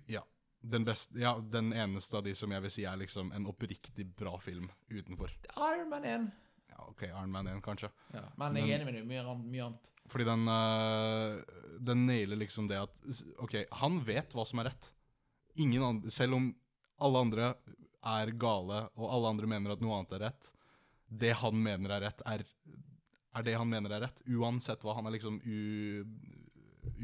Speaker 2: Den, best, ja, den eneste av de som jeg vil si er liksom en oppriktig bra film utenfor.
Speaker 1: Iron Man 1.
Speaker 2: Ja, OK, Iron Man 1, kanskje.
Speaker 1: Ja. Men jeg er
Speaker 2: Men-
Speaker 1: enig med deg. Mye, annet- mye annet.
Speaker 2: Fordi den, øh, den nailer liksom det at s- Ok, han vet hva som er rett. Ingen andre, selv om alle andre er gale, og alle andre mener at noe annet er rett, det han mener er rett, er, er det han mener er rett. Uansett hva. Han er liksom u,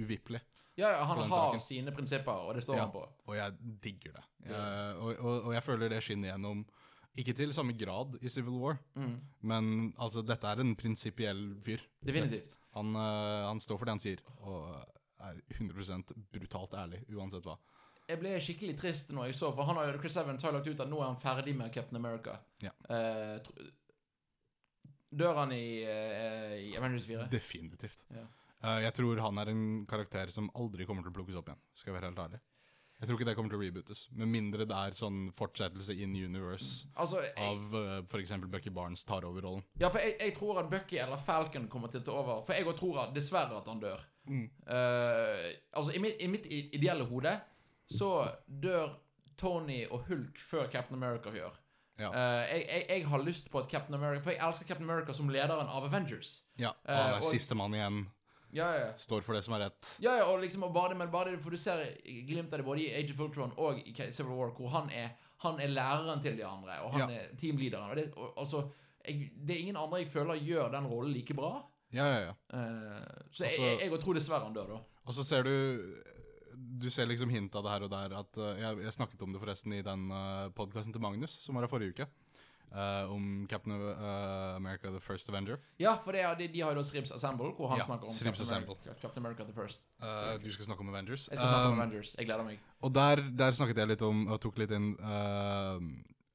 Speaker 2: uvippelig.
Speaker 1: Ja, ja,
Speaker 2: På
Speaker 1: han
Speaker 2: den
Speaker 1: har
Speaker 2: saken.
Speaker 1: sine prinsipper, og det står
Speaker 2: Ja.
Speaker 1: han på.
Speaker 2: Og jeg digger det.
Speaker 1: Ja.
Speaker 2: Eh, og, og, og jeg føler det skinner gjennom. Ikke til samme grad i Civil War,
Speaker 1: Mm.
Speaker 2: men altså, dette er en prinsipiell fyr.
Speaker 1: Definitivt.
Speaker 2: Han, øh, han står for det han sier, og er 100 brutalt ærlig, uansett hva.
Speaker 1: Jeg ble skikkelig trist når jeg så, for han har jo Chris Evans har jo lagt ut at nå er han ferdig med Captain America.
Speaker 2: Ja.
Speaker 1: Eh, tro- dør han i, eh, i Avengers 4?
Speaker 2: Definitivt.
Speaker 1: Ja.
Speaker 2: Eh, jeg tror han er en karakter som aldri kommer til å plukkes opp igjen, skal jeg være helt ærlig. Jeg tror ikke det kommer til å rebootes, med mindre det er sånn fortsettelse in universe
Speaker 1: Altså, jeg,
Speaker 2: av uh, f.eks. Bucky Barnes tar over rollen.
Speaker 1: ja, for jeg, jeg tror at Bucky eller Falcon kommer til å ta over. For jeg òg tror at, dessverre at han dør. Eh, altså, i mitt, i mitt i- ideelle hode så dør Tony og Hulk før Captain America gjør.
Speaker 2: Ja.
Speaker 1: Eh, jeg, jeg, jeg har lyst på at Captain America For jeg elsker Captain America som lederen av Avengers.
Speaker 2: Ja,
Speaker 1: Eh,
Speaker 2: han er
Speaker 1: og-
Speaker 2: sistemann igjen,
Speaker 1: Ja, ja, ja.
Speaker 2: står for det som er rett.
Speaker 1: Ja, ja, og liksom, og bare det, men bare det, for du ser glimt av det både i Age of Ultron og i Ca- Civil War, hvor han er, han er læreren til de andre, og han
Speaker 2: Ja.
Speaker 1: er teamlederen. Og det, og, altså, jeg, det er ingen andre jeg føler gjør den rollen like bra.
Speaker 2: Ja, ja, ja.
Speaker 1: Eh, så jeg,
Speaker 2: Altså-
Speaker 1: jeg, jeg tror dessverre han dør, da.
Speaker 2: Og så ser du Du ser liksom hint av det her og der. At, eh, jeg, jeg snakket om det forresten i den uh, podkasten til Magnus, som var her forrige uke. eh, om Captain eh, America the First Avenger.
Speaker 1: Ja, for det, er- de, de har jo da Sribs Assemble, hvor han
Speaker 2: Ja,
Speaker 1: snakker om
Speaker 2: Sribs
Speaker 1: Captain
Speaker 2: Assemble.
Speaker 1: America, Captain America the First.
Speaker 2: Eh, du skal snakke om Avengers.
Speaker 1: Jeg skal snakke om
Speaker 2: Eh,
Speaker 1: Avengers. Jeg gleder meg.
Speaker 2: Og der, der snakket jeg litt om, og tok litt inn, eh,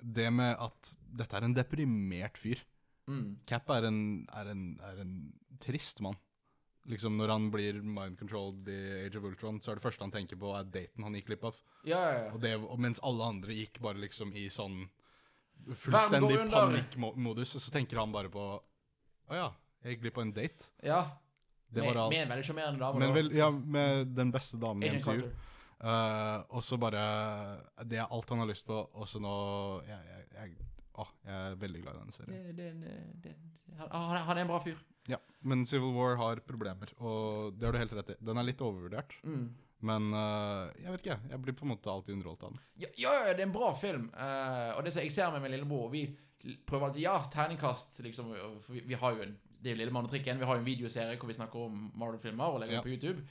Speaker 2: det med at dette er en deprimert fyr.
Speaker 1: Mm.
Speaker 2: Cap er en, er en, er en trist mann. Liksom Når han blir mind-controlled i Age of Ultron, så er det første han tenker på, er daten han gikk glipp av.
Speaker 1: Ja, ja, ja.
Speaker 2: Og det, og mens alle andre gikk bare liksom i sånn
Speaker 1: Verden
Speaker 2: fullstendig
Speaker 1: går under.
Speaker 2: panikkmodus, så tenker han bare på Å ja, jeg gikk glipp av en date.
Speaker 1: ja.
Speaker 2: Det
Speaker 1: Med,
Speaker 2: var
Speaker 1: med liksom.
Speaker 2: alt.
Speaker 1: en veldig sjarmerende dame.
Speaker 2: Men
Speaker 1: da.
Speaker 2: vel, ja, med den beste damen i
Speaker 1: Agent
Speaker 2: MCU.
Speaker 1: Carter.
Speaker 2: Eh, og så bare Det er alt han har lyst på, og så nå jeg, jeg, jeg, å, jeg er veldig glad i denne serien.
Speaker 1: Det, det, det, det, han, han er- han er en bra fyr.
Speaker 2: Ja, Men Civil War har problemer, og det har du helt rett i. Den er litt overvurdert,
Speaker 1: Mm.
Speaker 2: men eh, jeg vet ikke. Jeg blir på en måte alltid underholdt av den.
Speaker 1: Ja, ja, ja, det er en bra film. eh, og det som jeg ser med min lillebror Vi prøver alltid Ja, terningkast, liksom. og- For vi, vi har jo en Det er jo Lillemann og trikken. Vi har jo en videoserie hvor vi snakker om Marvel-filmer og legger
Speaker 2: Ja.
Speaker 1: det på YouTube.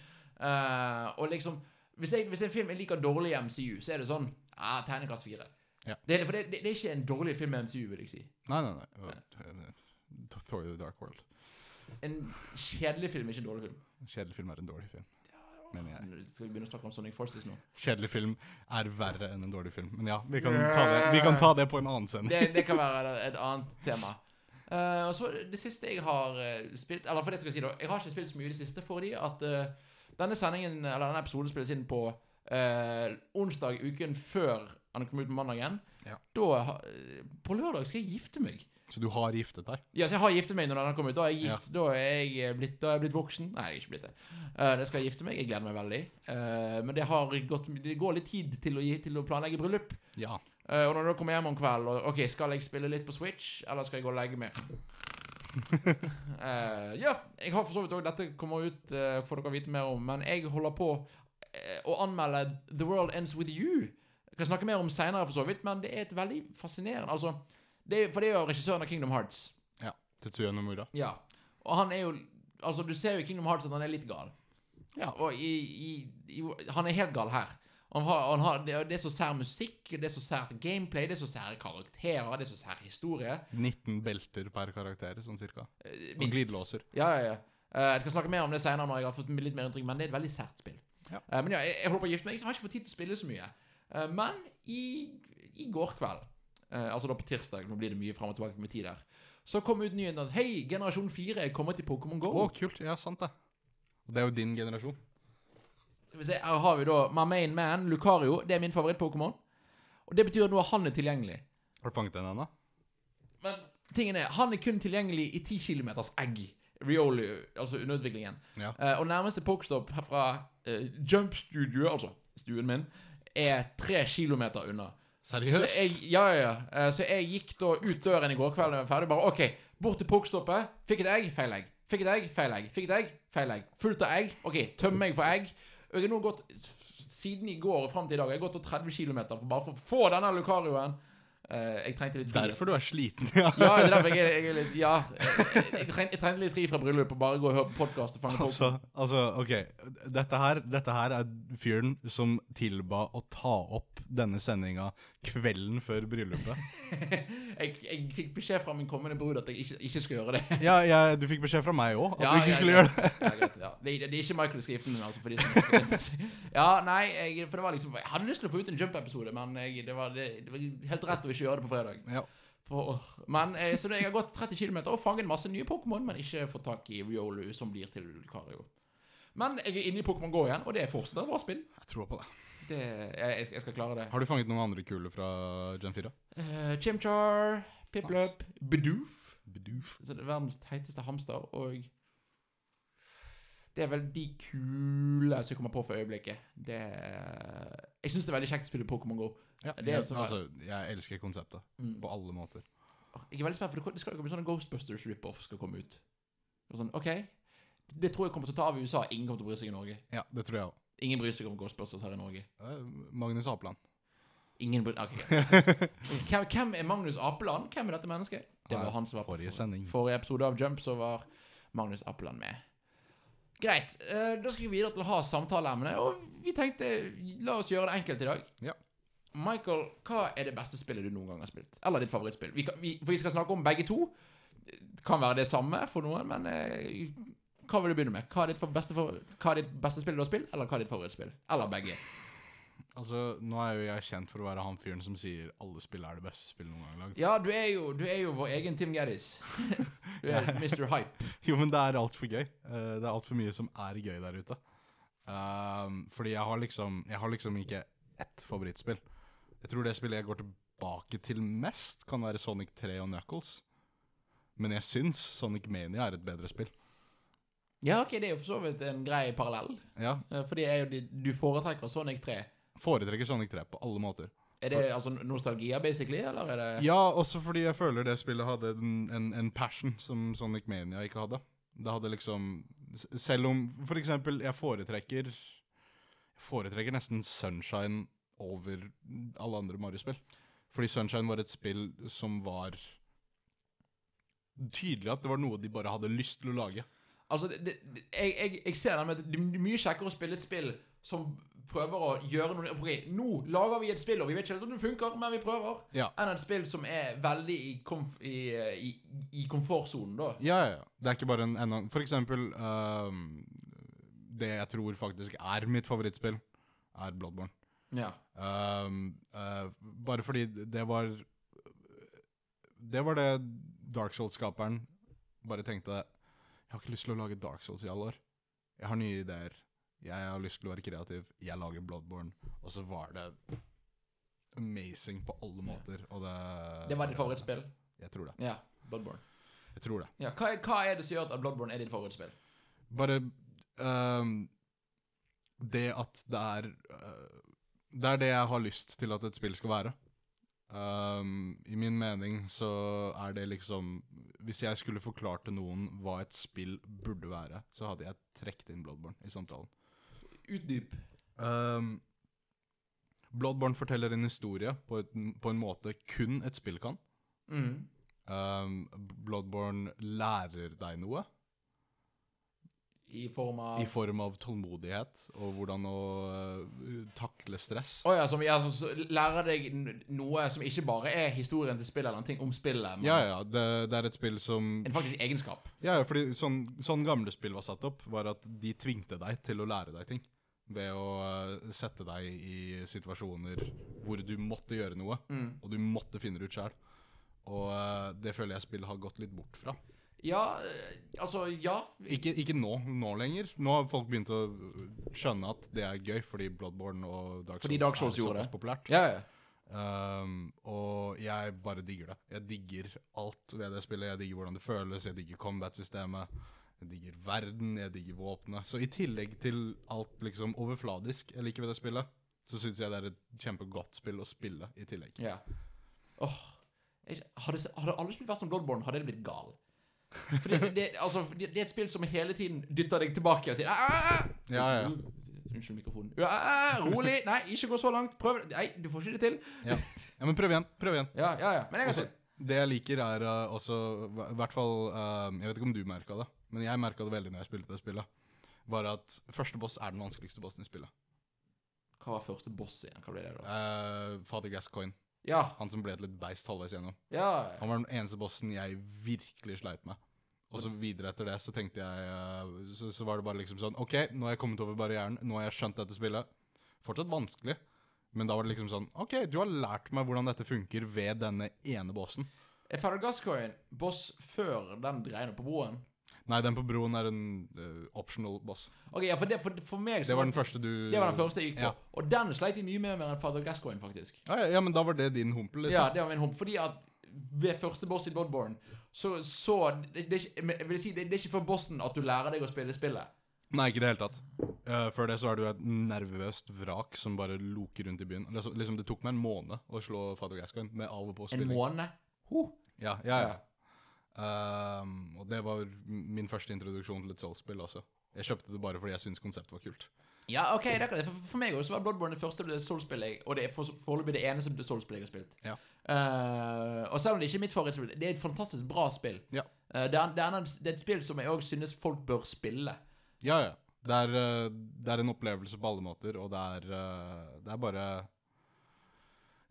Speaker 1: Eh, og liksom hvis, jeg, hvis en film jeg liker dårlig i MCU, så er det sånn Ja, terningkast fire.
Speaker 2: Ja.
Speaker 1: Det, er- for det, det, det er ikke en dårlig film i MCU, vil jeg si.
Speaker 2: Nei, nei, nei. Th- Thor the Dark World.
Speaker 1: En kjedelig film er ikke en dårlig film.
Speaker 2: Kjedelig film er en dårlig film, mener jeg.
Speaker 1: Skal vi begynne å snakke om Sonic Forces nå?
Speaker 2: Kjedelig film er verre enn en dårlig film. Men ja, vi kan ta det, vi kan ta det på en annen sending.
Speaker 1: Det, det kan være et annet tema. Eh, og så Det siste jeg har eh, spilt Eller for det skal jeg si da Jeg har ikke spilt så mye i det siste fordi at eh, denne sendingen Eller denne episoden spilles inn på eh, onsdag uken før han kom ut på mandagen.
Speaker 2: Ja.
Speaker 1: Da ha- eh, På lørdag skal jeg gifte meg.
Speaker 2: Så du har giftet deg?
Speaker 1: Ja, så jeg har giftet meg når den har kommet ut. Da er jeg gift. Da er jeg eh, blitt, da er jeg blitt voksen. Nei, jeg er ikke blitt det. Eh, det skal jeg gifte meg. Jeg gleder meg veldig. Eh, men det, har gått, det går litt tid til å, gi- til å planlegge bryllup.
Speaker 2: Ja.
Speaker 1: Eh, og når du kommer hjem om kvelden og, Ok, skal jeg spille litt på Switch, eller skal jeg gå og legge meg? Eh, ja, jeg har for så vidt òg Dette kommer ut, eh, får dere vite mer om. Men jeg holder på eh, å anmelde The World Ends With You. Jeg kan snakke mer om seinere, for så vidt, men det er et veldig fascinerende Altså, det, er- For det er jo regissøren av Kingdom Hearts.
Speaker 2: Tetsuya Nomura.
Speaker 1: Ja. Og han er jo Altså, du ser jo i Kingdom Hearts at han er litt gal. Ja, og i, i, i Han er helt gal her. Han har, han har, det er- det er så sær musikk, det er så sært gameplay, det er så sære karakterer, det er så sær historie.
Speaker 2: 19 belter per karakter, sånn cirka.
Speaker 1: Eh,
Speaker 2: Og
Speaker 1: minst.
Speaker 2: glidelåser.
Speaker 1: Ja, ja, ja. Eh, jeg skal snakke mer om det senere når jeg har fått litt mer inntrykk, men det er et veldig sært spill.
Speaker 2: Ja.
Speaker 1: Eh, men ja, jeg, jeg holder på å gifte meg, så jeg har ikke fått tid til å spille så mye. Eh, men i, i går kveld eh, altså da på tirsdag, nå blir det mye frem og tilbake med tid der, så kom ut nyheten at hei, generasjon 4 er kommet til Pokémon GO.
Speaker 2: Å, kult. Ja, sant det. Og det er jo din generasjon.
Speaker 1: Skal vi se, Her har vi da my main man, Lucario. Det er min favoritt-Pokémon. Og det betyr at nå er han er tilgjengelig.
Speaker 2: Har du fanget den ennå?
Speaker 1: Men tingen er, han er kun tilgjengelig i 10 km egg. Riolu, altså underutviklingen.
Speaker 2: Ja.
Speaker 1: Eh, og nærmeste pokestop herfra, eh, Jump Studio, altså stuen min, er 3 km unna. Så
Speaker 2: Seriøst?
Speaker 1: jeg, ja, ja, ja. Eh, Så jeg gikk da ut døren i går kveld da jeg var ferdig. Bare OK, bort til pokestoppet. Fikk et egg, feil egg. Fikk et egg, feil egg. Fikk et egg, feil egg. Fullt av egg. OK, tømmer jeg for egg. Og Jeg har nå gått siden i går og fram til i dag. Jeg har gått da 30 km for bare for å få denne Lucarioen. Eh, jeg trengte litt frihet.
Speaker 2: Derfor du er sliten, ja.
Speaker 1: Ja, det er derfor jeg, er- jeg er litt Ja. Jeg, jeg, jeg, treng, jeg trengte litt fri fra bryllupet og bare gå og høre på podkast og fange folk.
Speaker 2: Altså, altså OK. Dette her, dette her er fyren som tilba å ta opp denne sendinga kvelden før bryllupet.
Speaker 1: Jeg, jeg fikk beskjed fra min kommende brud at jeg ikke, ikke skal gjøre det.
Speaker 2: [LAUGHS] Ja, ja, du fikk beskjed fra meg òg at
Speaker 1: Ja,
Speaker 2: du ikke
Speaker 1: ja,
Speaker 2: skulle
Speaker 1: ja.
Speaker 2: gjøre det.
Speaker 1: Ja, greit, ja. Det, det, det er ikke Michael Skriften min, altså. For de som [LAUGHS] ja, nei, jeg, for det var liksom Jeg hadde lyst til å få ut en jump-episode, men jeg, det, var, det, det var helt rett å ikke gjøre det på fredag.
Speaker 2: Ja.
Speaker 1: For, åh. men eh, Så det, jeg har gått 30 km og fanget masse nye Pokémon, men ikke fått tak i Riolu, som blir til Lucario. Men jeg er inne i Pokémon GO igjen, og det er fortsatt et bra spill.
Speaker 2: Jeg tror på det.
Speaker 1: Det, jeg, jeg, skal- jeg skal klare det.
Speaker 2: Har du fanget noen andre kule fra Gen 4?
Speaker 1: Eh, Chimchar, Piplup, Bidoof
Speaker 2: Bedoof.
Speaker 1: så det er verdens teiteste hamster, og det er vel de kule som jeg kommer på for øyeblikket. Det er... Jeg syns det er veldig kjekt å spille Pokémon GO.
Speaker 2: Ja,
Speaker 1: Det er
Speaker 2: jeg,
Speaker 1: så bra.
Speaker 2: altså, jeg elsker konseptet
Speaker 1: Mm.
Speaker 2: på alle måter.
Speaker 1: Jeg er veldig spent, for det kom- det skal jo komme sånne Ghostbusters rip-off skal komme ut. Og sånn, ok, Det tror jeg kommer til å ta av i USA. Ingen kommer til å bry seg i Norge.
Speaker 2: Ja, det tror jeg òg.
Speaker 1: Ingen bryr seg om Ghostbusters her i Norge.
Speaker 2: Magnus Apeland.
Speaker 1: Ingen bryr... ok, greit. hvem, hvem er Magnus Apeland? Hvem er dette mennesket? Det var han som var på
Speaker 2: Forrige sending.
Speaker 1: forrige episode av Jump så var Magnus Appeland med. Greit. eh, da skal vi videre til å ha samtaleemne, og vi tenkte la oss gjøre det enkelt i dag.
Speaker 2: Ja.
Speaker 1: Michael, hva er det beste spillet du noen gang har spilt? Eller ditt favorittspill? Vi, kan- vi, for vi skal snakke om begge to. Det kan være det samme for noen, men eh, hva vil du begynne med? Hva er ditt fa- beste, for, hva er ditt beste spill du har spilt, eller hva er ditt favorittspill? Eller begge?
Speaker 2: Altså, Nå er jo jeg kjent for å være han fyren som sier alle spill er det beste spillet noen gang lagd.
Speaker 1: Ja, du er jo, du er jo vår egen Tim Geddes. [LAUGHS] Du er [LAUGHS] Mr. Hype.
Speaker 2: Jo, men det er altfor gøy. Eh, Det er altfor mye som er gøy der ute. Ehm, fordi jeg har liksom Jeg har liksom ikke ett favorittspill. Jeg tror det spillet jeg går tilbake til mest, kan være Sonic 3 og Knuckles. Men jeg syns Sonic Mania er et bedre spill.
Speaker 1: Ja, ok, det er jo for så vidt en grei parallell.
Speaker 2: Ja,
Speaker 1: Eh, For det er jo de, du foretrekker Sonic 3.
Speaker 2: Foretrekker Sonic 3 på alle måter.
Speaker 1: Er det altså nostalgia, basically, eller er det
Speaker 2: Ja, også fordi jeg føler det spillet hadde en, en, en passion som Sonic Mania ikke hadde. Det hadde liksom s- Selv om For eksempel, jeg foretrekker Jeg foretrekker nesten Sunshine over alle andre Mario-spill. Fordi Sunshine var et spill som var Tydelig at det var noe de bare hadde lyst til å lage.
Speaker 1: Altså, det, det, jeg, jeg, jeg ser det med at det er mye kjekkere å spille et spill som prøver å gjøre noe Ok, nå lager vi et spill, og vi vet ikke helt om det funker, men vi prøver.
Speaker 2: Ja.
Speaker 1: Enn et spill som er veldig i, komf i, eh, i, i komfortsonen, da.
Speaker 2: Ja, ja, ja. Det er ikke bare en enda For eksempel ehm, Det jeg tror faktisk er mitt favorittspill, er Bloodborne.
Speaker 1: Ja.
Speaker 2: Um, eh, bare fordi det var Det var det Dark Souls-skaperen bare tenkte Jeg har ikke lyst til å lage Dark Souls i alle år. Jeg har nye ideer. Jeg har lyst til å være kreativ. Jeg lager Bloodborne. Og så var det amazing på alle måter. Og det
Speaker 1: Det var ditt favorittspill?
Speaker 2: Jeg tror det.
Speaker 1: Ja. Bloodborne.
Speaker 2: Jeg tror det.
Speaker 1: Ja, hva, er- hva er det som gjør at Bloodborne er ditt favorittspill?
Speaker 2: Bare ehm, Det at det er eh, Det er det jeg har lyst til at et spill skal være. Ehm, I min mening så er det liksom Hvis jeg skulle forklart til noen hva et spill burde være, så hadde jeg trukket inn Bloodborne i samtalen.
Speaker 1: Utdyp.
Speaker 2: Ehm, Bloodborne forteller en historie på, et, på en måte kun et spill kan.
Speaker 1: Mm.
Speaker 2: Ehm, Bloodborne lærer deg noe.
Speaker 1: I form av
Speaker 2: I form av tålmodighet og hvordan å øh, takle stress.
Speaker 1: Å ja, som ja, så- så lærer deg n- noe som ikke bare er historien til spillet eller en ting om spillet, men
Speaker 2: Ja, ja, det, det er et spill som
Speaker 1: en faktisk egenskap.
Speaker 2: Ja, ja, fordi sånn, sånn gamle spill var satt opp, var at de eh, tvingte deg til å lære deg ting. Ved å øh, sette deg i situasjoner hvor du måtte gjøre noe,
Speaker 1: Mm.
Speaker 2: og du måtte finne det ut sjæl. Og eh, det føler jeg spillet har gått litt bort fra.
Speaker 1: Ja, eh, altså Ja.
Speaker 2: Ikke, ikke nå, nå lenger. Nå har folk begynt å skjønne at det er gøy, fordi Bloodborne og Dark Souls,
Speaker 1: Fordi Dark Souls
Speaker 2: er
Speaker 1: gjorde
Speaker 2: såpass
Speaker 1: det.
Speaker 2: populært.
Speaker 1: Ja, ja.
Speaker 2: Um, og jeg bare digger det. Jeg digger alt ved det spillet. Jeg digger hvordan det føles, jeg digger combat-systemet, jeg digger verden, jeg digger våpenet. Så i tillegg til alt liksom overfladisk jeg liker ved det spillet, så syns jeg det er et kjempegodt spill å spille i tillegg.
Speaker 1: ja. Åh, jeg- hadde, hadde alle spilt vært som Bloodborne, hadde jeg blitt gal. For det, det, det, altså, det, det er et spill som hele tiden dytter deg tilbake og sier «Ah, ah, ah!»
Speaker 2: Ja, ja.
Speaker 1: Unnskyld mikrofonen. «Ah, ah, ah, rolig! Nei, ikke gå så langt. Prøv det. Nei, du får ikke det til.
Speaker 2: ja. ja men prøv igjen. Prøv igjen.
Speaker 1: Ja, ja, ja. Men jeg har
Speaker 2: Også,
Speaker 1: sett.
Speaker 2: det jeg liker, er uh, også hva- I hvert fall um, Jeg vet ikke om du merka det, men jeg merka det veldig når jeg spilte det spillet. Var at første boss er den vanskeligste bossen i spillet.
Speaker 1: Hva var første boss igjen? Hva ble det, da?
Speaker 2: Uh, Fader Gascoigne.
Speaker 1: Ja,
Speaker 2: Han som ble et litt beist halvveis gjennom.
Speaker 1: ja.
Speaker 2: Han var den eneste bossen jeg virkelig sleit med. Og så videre etter det så tenkte jeg eh, Så, så var det bare liksom sånn OK, nå har jeg kommet over barrieren. Nå har jeg skjønt dette spillet. Fortsatt vanskelig, men da var det liksom sånn OK, du har lært meg hvordan dette funker ved denne ene bossen.
Speaker 1: Er Farrah Gascoigne boss før den dreier på broen?
Speaker 2: Nei, den på broen er en eh, optional boss.
Speaker 1: Ok, ja, for, det, for, for meg så
Speaker 2: Det var den første du
Speaker 1: det var den første jeg gikk på.
Speaker 2: Ja.
Speaker 1: Og den sleit jeg mye mer med enn Father Gascoigne, faktisk.
Speaker 2: Ja, ja, ja, men da var det din humpel,
Speaker 1: Ja,
Speaker 2: liksom.
Speaker 1: det var min håp. Fordi at ved første boss i Bloodborne, så, så det, det, er ikke- men jeg vil si, det, det er ikke for bossen at du lærer deg å spille spillet.
Speaker 2: Nei, ikke i det hele tatt. Eh, før det så er du et nervøst vrak som bare loker rundt i byen. Liksom, liksom Det tok meg en måned å slå Fader Gascoigne med av og
Speaker 1: En
Speaker 2: på-spilling.
Speaker 1: måned. Huh.
Speaker 2: Ja, ja, ja. Ehm, og det var m- min første introduksjon til et Souls-spill også. Jeg kjøpte det bare fordi jeg syntes konseptet var kult.
Speaker 1: Ja, ok, det kan jeg. For, for meg også så var Bloodborne det første Soul-spillet jeg Og det er for- foreløpig det eneste Soul-spillet jeg har spilt.
Speaker 2: Ja.
Speaker 1: Eh, og selv om det ikke er mitt favorittspill, det er et fantastisk bra spill.
Speaker 2: Ja.
Speaker 1: Eh, det, er, det, er en, det er et spill som jeg òg synes folk bør spille.
Speaker 2: Ja, ja. Det er, eh, det er en opplevelse på alle måter, og det er, eh, det er bare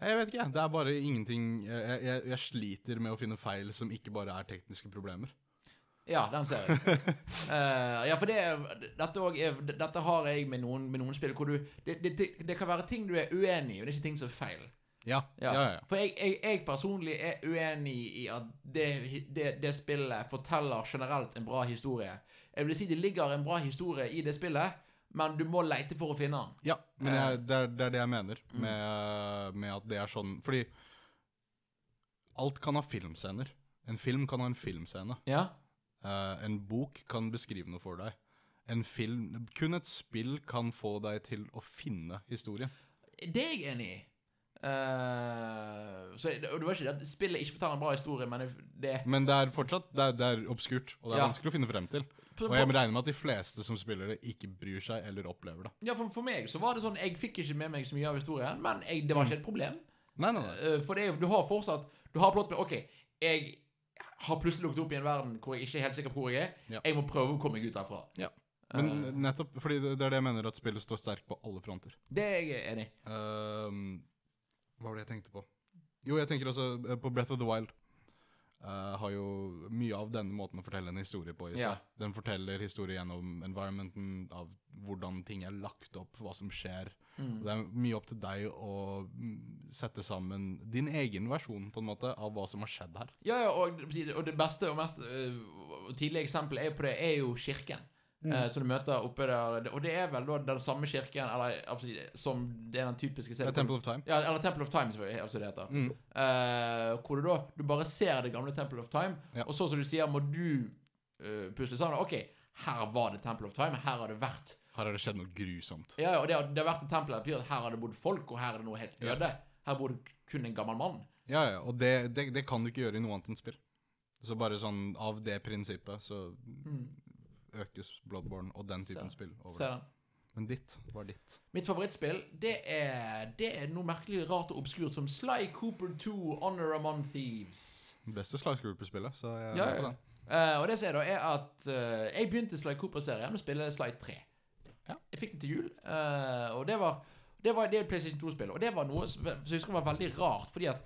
Speaker 2: Jeg vet ikke, jeg. Det er bare ingenting jeg, jeg, jeg sliter med å finne feil som ikke bare er tekniske problemer.
Speaker 1: Ja, den ser jeg. Eh, ja, for det, er- dette, også er, dette har jeg med noen, med noen spill hvor du det, det, det, det kan være ting du er uenig i, men det er ikke ting som er feil.
Speaker 2: Ja, ja, ja. ja.
Speaker 1: For jeg, jeg, jeg personlig er uenig i at det, det, det spillet forteller generelt en bra historie. Jeg vil si det ligger en bra historie i det spillet, men du må leite for å finne den.
Speaker 2: Ja,
Speaker 1: Eh.
Speaker 2: men
Speaker 1: Mm.
Speaker 2: jeg, det, er, det er det jeg mener med, med at det er sånn Fordi alt kan ha filmscener. En film kan ha en filmscene.
Speaker 1: Ja?
Speaker 2: Eh, en bok kan beskrive noe for deg. En film Kun et spill kan få deg til å finne historie.
Speaker 1: Det er jeg enig i. Eh, så det, det var ikke det at spillet ikke forteller en bra historie, men det
Speaker 2: Men det er fortsatt det er, det er obskurt, og det er
Speaker 1: Ja.
Speaker 2: vanskelig å finne frem til. Og jeg regner med at de fleste som spiller det, ikke bryr seg eller opplever det.
Speaker 1: Ja, for, for meg så var det sånn Jeg fikk ikke med meg så mye av historien, men jeg, det var ikke et problem.
Speaker 2: Nei, nei, nei.
Speaker 1: Eh, for det er jo, du har fortsatt Du har plott med OK, jeg har plutselig lukket opp i en verden hvor jeg ikke er helt sikker på hvor jeg er.
Speaker 2: Ja.
Speaker 1: Jeg må prøve å komme meg ut derfra. Eh.
Speaker 2: Men nettopp fordi det, det er det jeg mener, at spillet står sterkt på alle fronter.
Speaker 1: Det er jeg enig i.
Speaker 2: Ehm, hva var det jeg tenkte på? Jo, jeg tenker også eh, på Breath of the Wild. Eh, har jo mye av denne måten å fortelle en historie på i seg.
Speaker 1: Ja.
Speaker 2: Den forteller historie gjennom environmenten, av hvordan ting er lagt opp, hva som skjer. Og Det er mye opp til deg å mm, sette sammen din egen versjon på en måte, av hva som har skjedd her.
Speaker 1: Ja, ja, og, og det beste og mest eh, og tidlige eksempelet er på det, er jo kirken.
Speaker 2: Mm.
Speaker 1: eh, som du møter oppe der. Og det er vel da den samme kirken eller, absolutt, som det er den typiske
Speaker 2: Det er Eh, Temple of Time.
Speaker 1: Ja, eller Temple of Time, som altså det heter.
Speaker 2: Mm.
Speaker 1: Eh, hvor du da Du bare ser det gamle Temple of Time,
Speaker 2: Ja.
Speaker 1: og så som du sier, må du eh, pusle sammen. OK, her var det Temple of Time. Her har det vært
Speaker 2: Her har det skjedd noe grusomt.
Speaker 1: Ja, ja, og det har, det har vært et tempel her, her har det bodd folk, og her er det noe helt øde. Her bor det kun en gammel mann.
Speaker 2: Ja, ja, og det, det, det kan du ikke gjøre i noe annet enn spill. Så bare sånn, av det prinsippet, så økes Bloodborne og den typen
Speaker 1: Så-
Speaker 2: spill over.
Speaker 1: Hmm, Ser den.
Speaker 2: Men ditt var ditt.
Speaker 1: Mitt favorittspill, det er, det er noe merkelig rart og obskurt som Sly Cooper 2 Honor Among Thieves.
Speaker 2: Beste Slice Grouper-spillet, så jeg
Speaker 1: Ja,
Speaker 2: er med
Speaker 1: ja.
Speaker 2: på den.
Speaker 1: Eh, og det som er da, er at eh, jeg begynte Sly Cooper-serien med å spille Sly 3.
Speaker 2: Ja.
Speaker 1: Jeg fikk det til jul, eh, og det var det var det er et PlayStation 2-spill, og det var noe som som jeg husker var veldig rart, fordi at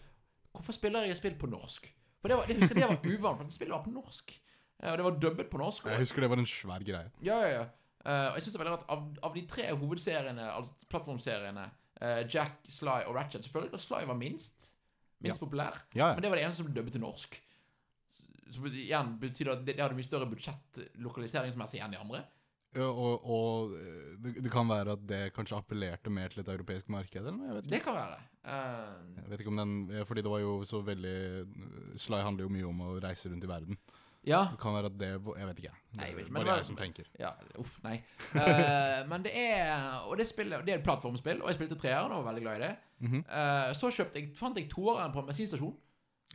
Speaker 1: Hvorfor spiller jeg et spill på norsk? For det var, det, det var uvant, for spillet var på norsk. Eh, Og det var dubbet på norsk.
Speaker 2: Jeg
Speaker 1: Og,
Speaker 2: husker det var en svær greie.
Speaker 1: ja, ja, ja. Eh, og jeg synes det er veldig rart, av, av de tre hovedseriene, altså plattformseriene, eh, eh, Jack, Sly og Ratchet. Selvfølgelig at Sly var minst. Minst populær.
Speaker 2: Ja,
Speaker 1: Men det var det eneste som ble dubbet til norsk. Som igjen betyr at det, det hadde mye større budsjett lokaliseringsmessig enn de andre.
Speaker 2: ja. Og, og eh, det, det kan være at det kanskje appellerte mer til et europeisk marked, eller noe? Jeg vet ikke.
Speaker 1: Det kan være. Eh,
Speaker 2: Jeg vet ikke om den, eh, fordi det var jo så veldig Sly handler jo mye om å reise rundt i verden.
Speaker 1: ja.
Speaker 2: Det kan være at det Jeg vet ikke. Det
Speaker 1: Nei, jeg vet ikke,
Speaker 2: er
Speaker 1: men det
Speaker 2: bare
Speaker 1: var-
Speaker 2: jeg som tenker.
Speaker 1: Ja, uff, nei. Eh, men det er Og det spillet Det er et plattformspill, og jeg spilte treeren og var veldig glad i det.
Speaker 2: Mhm.
Speaker 1: Eh, så kjøpte jeg, fant jeg toeren på en bensinstasjon.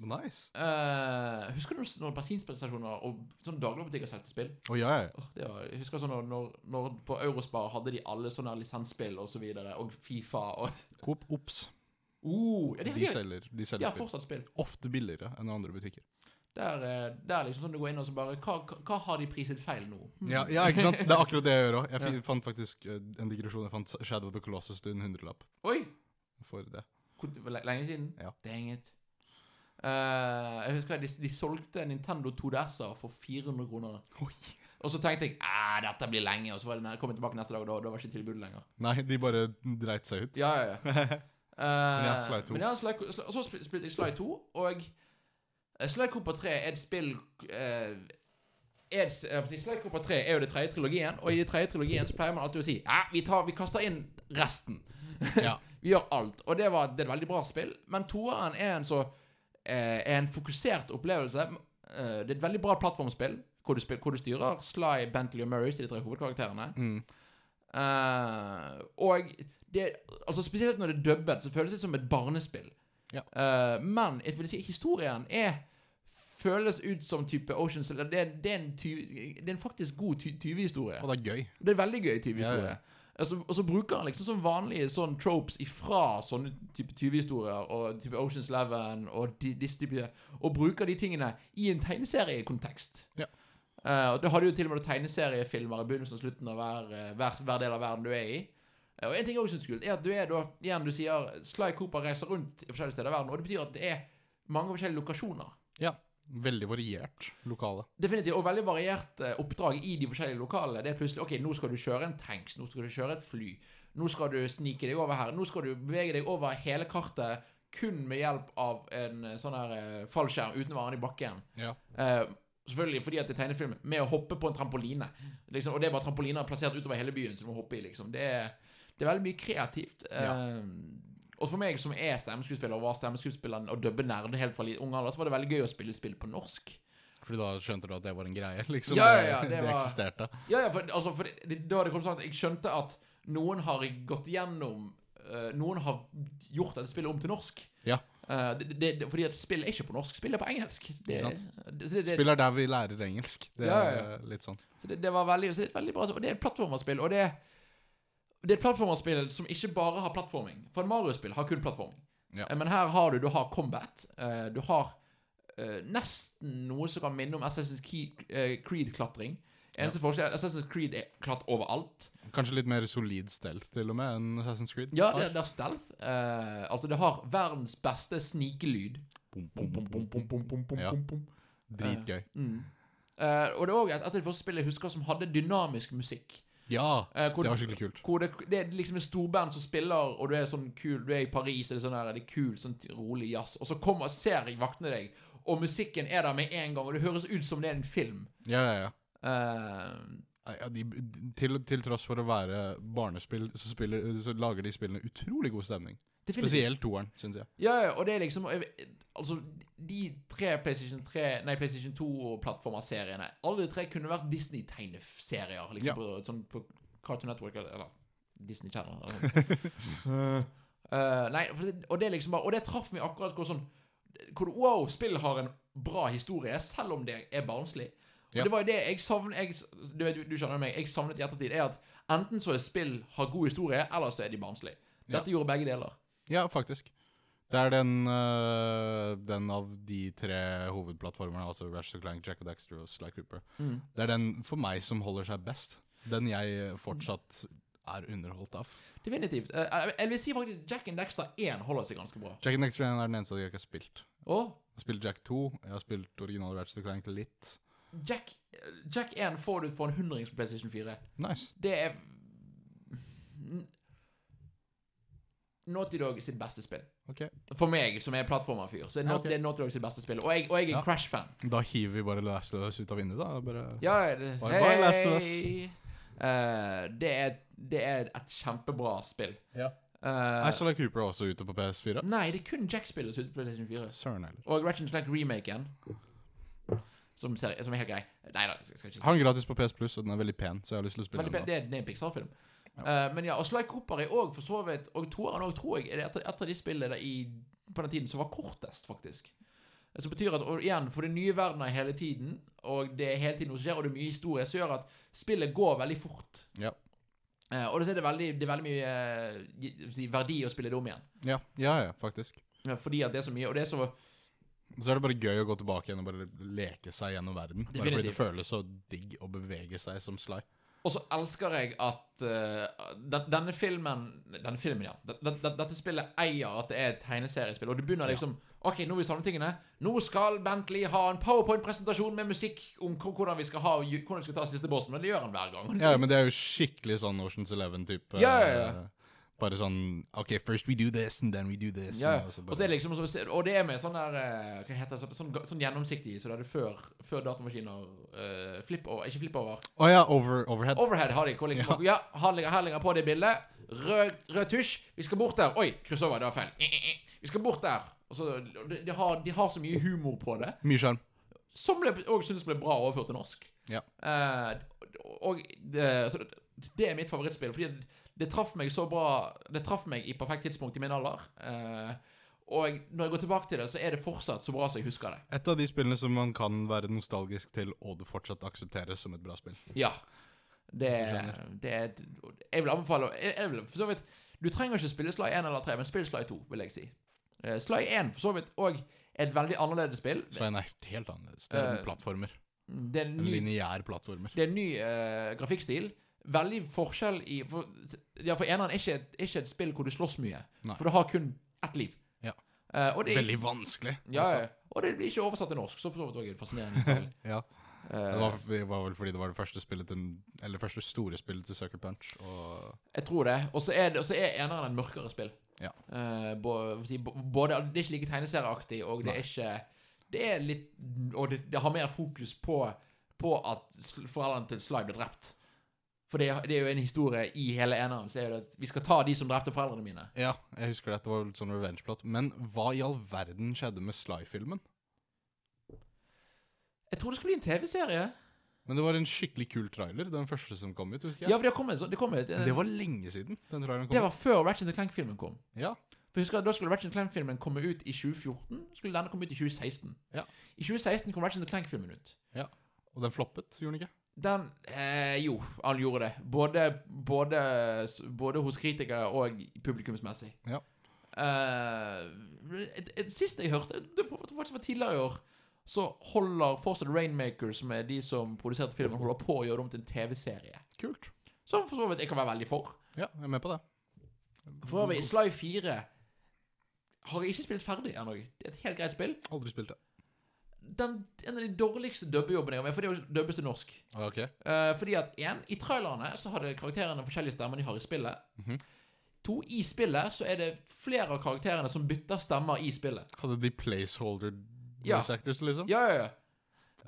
Speaker 2: Nice.
Speaker 1: Eh, husker du når bensinstasjoner og sånne dagligvarebutikker solgte spill?
Speaker 2: Å ja, ja.
Speaker 1: Åh, det var, jeg husker sånn når, når, når På Eurospar hadde de alle sånne lisensspill og så videre, og Fifa og
Speaker 2: Coop Ops.
Speaker 1: oh, ja, de,
Speaker 2: De
Speaker 1: har- de,
Speaker 2: selger, de
Speaker 1: de
Speaker 2: selger
Speaker 1: har
Speaker 2: spill.
Speaker 1: fortsatt spill.
Speaker 2: Ofte billigere enn andre butikker.
Speaker 1: Der, eh, der liksom sånn du går inn og så bare Hva, hva- hva har de priset feil nå? Hm.
Speaker 2: Ja, ja, ikke sant? Det er akkurat det jeg gjør òg. [LAUGHS] Jeg fi- fant faktisk eh, en digresjon. Jeg fant Shadow of the Colossus til en hundrelapp
Speaker 1: Oi!
Speaker 2: for det.
Speaker 1: Hvor- det var le- Lenge siden?
Speaker 2: Ja.
Speaker 1: Dang it. Eh, jeg husker at de, de solgte Nintendo 2DS-er for 400 kroner.
Speaker 2: Oi.
Speaker 1: Og så tenkte jeg at dette blir lenge, og så var det, når jeg kom jeg tilbake neste dag, og da, da var ikke tilbudet lenger.
Speaker 2: Nei, de bare dreit seg ut.
Speaker 1: Ja, ja, ja. Eh,
Speaker 2: Ja, Sly 2.
Speaker 1: Men ja, Sly, Sly, og så spil- spilte jeg Sly 2, og eh, Sly Cooper 3 er et spill eh, er et s- eh, jeg vil si, Sly Cooper 3 er jo det tredje trilogien, og i den tredje trilogien så pleier man alltid å si at vi, tar- vi kaster inn resten. [LAUGHS]
Speaker 2: Ja.
Speaker 1: Vi gjør alt. Og det var det er et veldig bra spill. Men toeren er en så eh, er en fokusert opplevelse. Eh, det er et veldig bra plattformspill, hvor du, spil, hvor du styrer Sly, Bentley og Murray, som er de tre hovedkarakterene.
Speaker 2: Mm.
Speaker 1: Eh, og det, altså spesielt når det er dubbet, så føles det som et barnespill.
Speaker 2: Ja.
Speaker 1: Eh, men jeg vil si, historien er føles ut som type Oceans eller det, er- det, er en ty, det er en faktisk god ty, tyvehistorie.
Speaker 2: Og det er gøy.
Speaker 1: Det er en veldig gøy
Speaker 2: Ja,
Speaker 1: tyvehistorie.
Speaker 2: ja.
Speaker 1: Altså, og så bruker han liksom sånn vanlige sånn tropes ifra sånne type tyvehistorier og type Oceans Eleven og de, disse type Og bruker de tingene i en tegneseriekontekst.
Speaker 2: Ja.
Speaker 1: Eh, og det hadde jo til og med tegneseriefilmer i begynnelsen og slutten av hver, eh, hver, hver del av verden du er i. Eh, Og en ting jeg også synes er kult, er at du er da, igjen du sier Sly Cooper reiser rundt i forskjellige steder i verden, og det betyr at det er mange forskjellige lokasjoner.
Speaker 2: Ja. Veldig variert lokale.
Speaker 1: Definitivt, og veldig variert eh, oppdrag i de forskjellige lokalene. Det er plutselig OK, nå skal du kjøre en tanks, nå skal du kjøre et fly, nå skal du snike deg over her, nå skal du bevege deg over hele kartet kun med hjelp av en eh, sånn her eh, fallskjerm uten å være nede i bakken.
Speaker 2: Ja.
Speaker 1: Eh, selvfølgelig fordi at det er tegnefilm, med å hoppe på en trampoline. Liksom, og det er bare trampoliner plassert utover hele byen som du må hoppe i, liksom. Det er, det er veldig mye kreativt. Eh, og for meg som er stemmeskuespiller, og var stemmeskuespiller og dubbe nerd helt fra li- ung alder, så var det veldig gøy å spille spill på norsk.
Speaker 2: Fordi da skjønte du at det var en greie, liksom.
Speaker 1: Ja, ja, ja,
Speaker 2: det,
Speaker 1: det var-
Speaker 2: eksisterte.
Speaker 1: Ja, ja, for, altså, for det, det, da hadde det kommet sånn at jeg skjønte at noen har gått gjennom eh, Noen har gjort dette spillet om til norsk.
Speaker 2: Ja.
Speaker 1: Eh, det, det, det, fordi at spill er ikke på norsk, spill er på engelsk. Det,
Speaker 2: Ikke sant?
Speaker 1: det, det, det,
Speaker 2: Spiller der vi lærer engelsk. Det
Speaker 1: Ja,
Speaker 2: er
Speaker 1: ja, ja.
Speaker 2: eh, litt sånn.
Speaker 1: så det, det var veldig, så det er et veldig bra. Og det er et plattformerspill, og det det er et plattformerspill som ikke bare har plattforming. For et Mario-spill har kun plattforming.
Speaker 2: Ja.
Speaker 1: Eh, Men her har du, du har combat. eh, Du har eh, nesten noe som kan minne om Assassin's Key- eh, Creed-klatring. Eneste forskjell er at Assassin's Creed er klatt overalt.
Speaker 2: Kanskje litt mer solid stealth til og med enn Assassin's Creed.
Speaker 1: Ja, det, det er stealth. Eh, altså, det har verdens beste snikelyd.
Speaker 2: Bom,
Speaker 1: Bom,
Speaker 2: bom,
Speaker 1: bom, bom, bom, bom, bom, bom,
Speaker 2: Ja.
Speaker 1: bom, bom.
Speaker 2: Dritgøy.
Speaker 1: Mm. Eh, og det er òg et et av de første spillene jeg husker som hadde dynamisk musikk.
Speaker 2: Ja,
Speaker 1: Eh, hvor-
Speaker 2: det var skikkelig kult.
Speaker 1: Hvor det, det er liksom et storband som spiller, og du er sånn kul Du er i Paris, og det er sånn der, det er kul, sånn t- rolig jazz, og så kommer og ser jeg vaktene deg, og musikken er der med en gang, og det høres ut som det er en film.
Speaker 2: Ja, ja, ja.
Speaker 1: Eh,
Speaker 2: Nei, Ja, de, til, til tross for å være barnespill, så, spiller, så lager de spillene utrolig god stemning.
Speaker 1: definitivt.
Speaker 2: Spesielt toeren, syns jeg.
Speaker 1: Ja, ja, og det er liksom Altså, de tre PlayStation 3 Nei, PlayStation 2-plattformer-seriene Alle tre kunne vært Disney-tegneserier. Liksom
Speaker 2: Ja.
Speaker 1: på, sånn på Cartoon Network eller- eller Disney Channel. Eller noe
Speaker 2: [LAUGHS]
Speaker 1: sånt. Eh, nei, for det, og det er liksom bare Og det traff meg akkurat hvor sånn hvor, det- Wow, spill har en bra historie, selv om det er barnslig. Og
Speaker 2: Ja.
Speaker 1: Det var jo det jeg savnet jeg, du, vet, du skjønner meg, jeg savnet i ettertid, er at enten så er spill har god historie, eller så er de barnslige. Dette gjorde begge deler.
Speaker 2: Ja, faktisk. Det er den, øh, den av de tre hovedplattformene, altså Ratchet Clank, Jack and Daxter og Sly Cooper.
Speaker 1: Mm.
Speaker 2: Det er den for meg som holder seg best. Den jeg fortsatt er underholdt av.
Speaker 1: Definitivt. Eh, jeg- jeg vil si faktisk Jack and Daxter 1 holder seg ganske bra.
Speaker 2: Jack and Daxter er den eneste jeg ikke har spilt.
Speaker 1: Og
Speaker 2: Jeg har spilt Jack 2, jeg har spilt originale Ratchet Clank litt.
Speaker 1: Jack, eh, Jack 1 får du for en hundrings på PlayStation 4.
Speaker 2: Nice.
Speaker 1: Det er Naughty Dog sitt beste spill.
Speaker 2: Ok.
Speaker 1: For meg, som er plattformerfyr, så er Naut-
Speaker 2: Ja, ok.
Speaker 1: det er Naughty Dog sitt beste spill. Og jeg, og jeg er
Speaker 2: Ja.
Speaker 1: Crash-fan.
Speaker 2: Da hiver vi bare Last of Us ut av vinduet, da. Bare...
Speaker 1: Ja, ja, det,
Speaker 2: Bye bye, Last of Us.
Speaker 1: Eh, det, er, det er et kjempebra spill.
Speaker 2: Ja.
Speaker 1: Eh,
Speaker 2: Er Sola Cooper også ute på PS4?
Speaker 1: nei, det er kun Jack-spillet som er ute på PlayStation 4.
Speaker 2: Søren heller.
Speaker 1: Og Ratchet Clank-remaken. Som, ser- som er helt grei. Nei da, jeg skal ikke
Speaker 2: Jeg har den gratis på PS Plus, og den er veldig pen, så jeg har lyst til å spille
Speaker 1: Veldig
Speaker 2: den.
Speaker 1: pen. Det er det er en Pixar-film. Eh, men ja, og Sly Cooper er òg for så vidt Og toeren òg, tror jeg, er det et av- et av de spillene der i, på den tiden som var kortest, faktisk. Eh, Som betyr at, og igjen, for det er nye verdener hele tiden, og det er hele tiden noe som skjer, og det er mye historie, så gjør at spillet går veldig fort.
Speaker 2: Ja.
Speaker 1: Eh, og så er det veldig, det er veldig mye eh, gi- si, verdi å spille det om igjen.
Speaker 2: Ja, ja, ja, faktisk.
Speaker 1: Eh, Fordi at det er så mye, og det er så
Speaker 2: Så er det bare gøy å gå tilbake igjen og bare leke seg gjennom verden. Bare fordi det
Speaker 1: Definitivt.
Speaker 2: føles så digg å bevege seg som Sly.
Speaker 1: Og så elsker jeg at eh, den, denne filmen Denne filmen, ja. Den- den- den- Dette spillet eier at det er et tegneseriespill. Og det begynner
Speaker 2: Ja.
Speaker 1: liksom OK, nå er vi samlet tingene. Nå skal Bentley ha en powerpoint-presentasjon med musikk om hvor- hvordan vi skal ha Hvordan vi skal ta siste bossen. Men det gjør han hver gang.
Speaker 2: Ja, men det er jo skikkelig sånn Oceans Eleven-type.
Speaker 1: Ja, ja, ja.
Speaker 2: eh, Bare sånn OK, first we do this, and then we do this.
Speaker 1: [LAUGHS] Ja, ja.
Speaker 2: og så
Speaker 1: Og, så er det liksom, så- og det er med sånn der eh, Hva heter det? Sånn, sånn, sånn gjennomsiktig, så det er det før, før datamaskiner uh, Flippover Ikke flippover.
Speaker 2: Å ja, over, overhead.
Speaker 1: Overhead har de. Hvor liksom, ja, her, ligger, her ligger på det bildet. Rød, rød tusj. Vi skal bort der. Oi, kryss over. Det var feil. Eh, eh, eh. Vi skal bort der. Og så, de, de, har, de har så mye humor på det,
Speaker 2: Mye sjarm.
Speaker 1: som jeg òg syns ble bra overført til norsk.
Speaker 2: Ja.
Speaker 1: Eh, og det, så det- det er mitt favorittspill, fordi det, det traff meg så bra Det traff meg i perfekt tidspunkt i min alder. Eh, og når jeg går tilbake til det, så er det fortsatt så bra som jeg husker det.
Speaker 2: Et av de spillene som man kan være nostalgisk til, og det fortsatt aksepteres som et bra spill.
Speaker 1: Ja. Det,
Speaker 2: skjønner.
Speaker 1: det er- Jeg vil anbefale jeg, jeg vil, for så vidt, Du trenger ikke spille Sly 1 eller 3, men spill Sly 2, vil jeg si. Eh, Sly 1 for så vidt òg er et veldig annerledes spill.
Speaker 2: Så den er helt annerledes. Det er
Speaker 1: Eh,
Speaker 2: en plattformer.
Speaker 1: Det er en
Speaker 2: En
Speaker 1: ny,
Speaker 2: lineær plattformer.
Speaker 1: det er en ny eh, grafikkstil. Veldig forskjell i For, ja, for eneren er ikke, et- er ikke et spill hvor du slåss mye,
Speaker 2: Nei.
Speaker 1: for du har kun ett liv.
Speaker 2: Ja.
Speaker 1: Eh, og det, er-
Speaker 2: Veldig vanskelig.
Speaker 1: ja, ja. Og det blir ikke oversatt til norsk, så for så vidt òg er det
Speaker 2: [LAUGHS]
Speaker 1: fascinerende. detalj.
Speaker 2: Ja.
Speaker 1: Eh,
Speaker 2: Det var, det var vel fordi det var det første spillet til Eller første store spillet til Sucker Punch. Og
Speaker 1: Jeg tror det. Og så er, det- og så er eneren en mørkere spill.
Speaker 2: Ja.
Speaker 1: Eh, bo- si, bo- både, det er ikke like tegneserieaktig, og det er
Speaker 2: Nei.
Speaker 1: ikke Det er litt Og det, det har mer fokus på, på at sl- foreldrene til Sly ble drept. For det, er- det er jo en historie i hele eneren. Så er det at vi skal ta de som drepte foreldrene mine.
Speaker 2: Ja, jeg husker det. Det var litt sånn revenge-plott. Men hva i all verden skjedde med Sly-filmen?
Speaker 1: Jeg tror det skal bli en TV-serie.
Speaker 2: Men det var en skikkelig kul trailer, den første som kom ut, husker
Speaker 1: Ja.
Speaker 2: jeg.
Speaker 1: for det kom en sånn det, kom et-
Speaker 2: Men Det var lenge siden den traileren kom
Speaker 1: det var før Ratchet Clank-filmen kom.
Speaker 2: ut. Ja.
Speaker 1: For husker jeg, Da skulle Ratchet Clank-filmen komme ut i 2014. Skulle denne komme ut i 2016.
Speaker 2: Ja.
Speaker 1: I 2016 kom Ratchet Clank-filmen ut.
Speaker 2: Og den floppet, gjorde den ikke?
Speaker 1: Den eh, Jo, han gjorde det. Både, både, både hos kritikere og publikumsmessig.
Speaker 2: Ja.
Speaker 1: Eh, et, et, sist jeg hørte, det var- det faktisk var tidligere i år, så holder fortsatt Rainmaker, som er de som produserte filmen, holder på å gjøre det om til en TV-serie.
Speaker 2: Kult.
Speaker 1: Som for så vidt jeg kan være veldig for.
Speaker 2: Ja, jeg er med på det.
Speaker 1: For øvrig, Sly 4 har jeg ikke spilt ferdig ennå. Det er et helt greit spill.
Speaker 2: Aldri spilt det.
Speaker 1: Den, en av de dårligste dubbejobbene jeg har med, for det er jo dubbes til norsk.
Speaker 2: Ah, Ok.
Speaker 1: Eh, fordi at en, i trailerne så hadde karakterene forskjellige stemmer de har i spillet.
Speaker 2: Mhm.
Speaker 1: To, i spillet så er det flere av karakterene som bytter stemmer i spillet.
Speaker 2: Hadde de placeholder
Speaker 1: Ja.
Speaker 2: voice actors, liksom?
Speaker 1: Ja, ja, ja.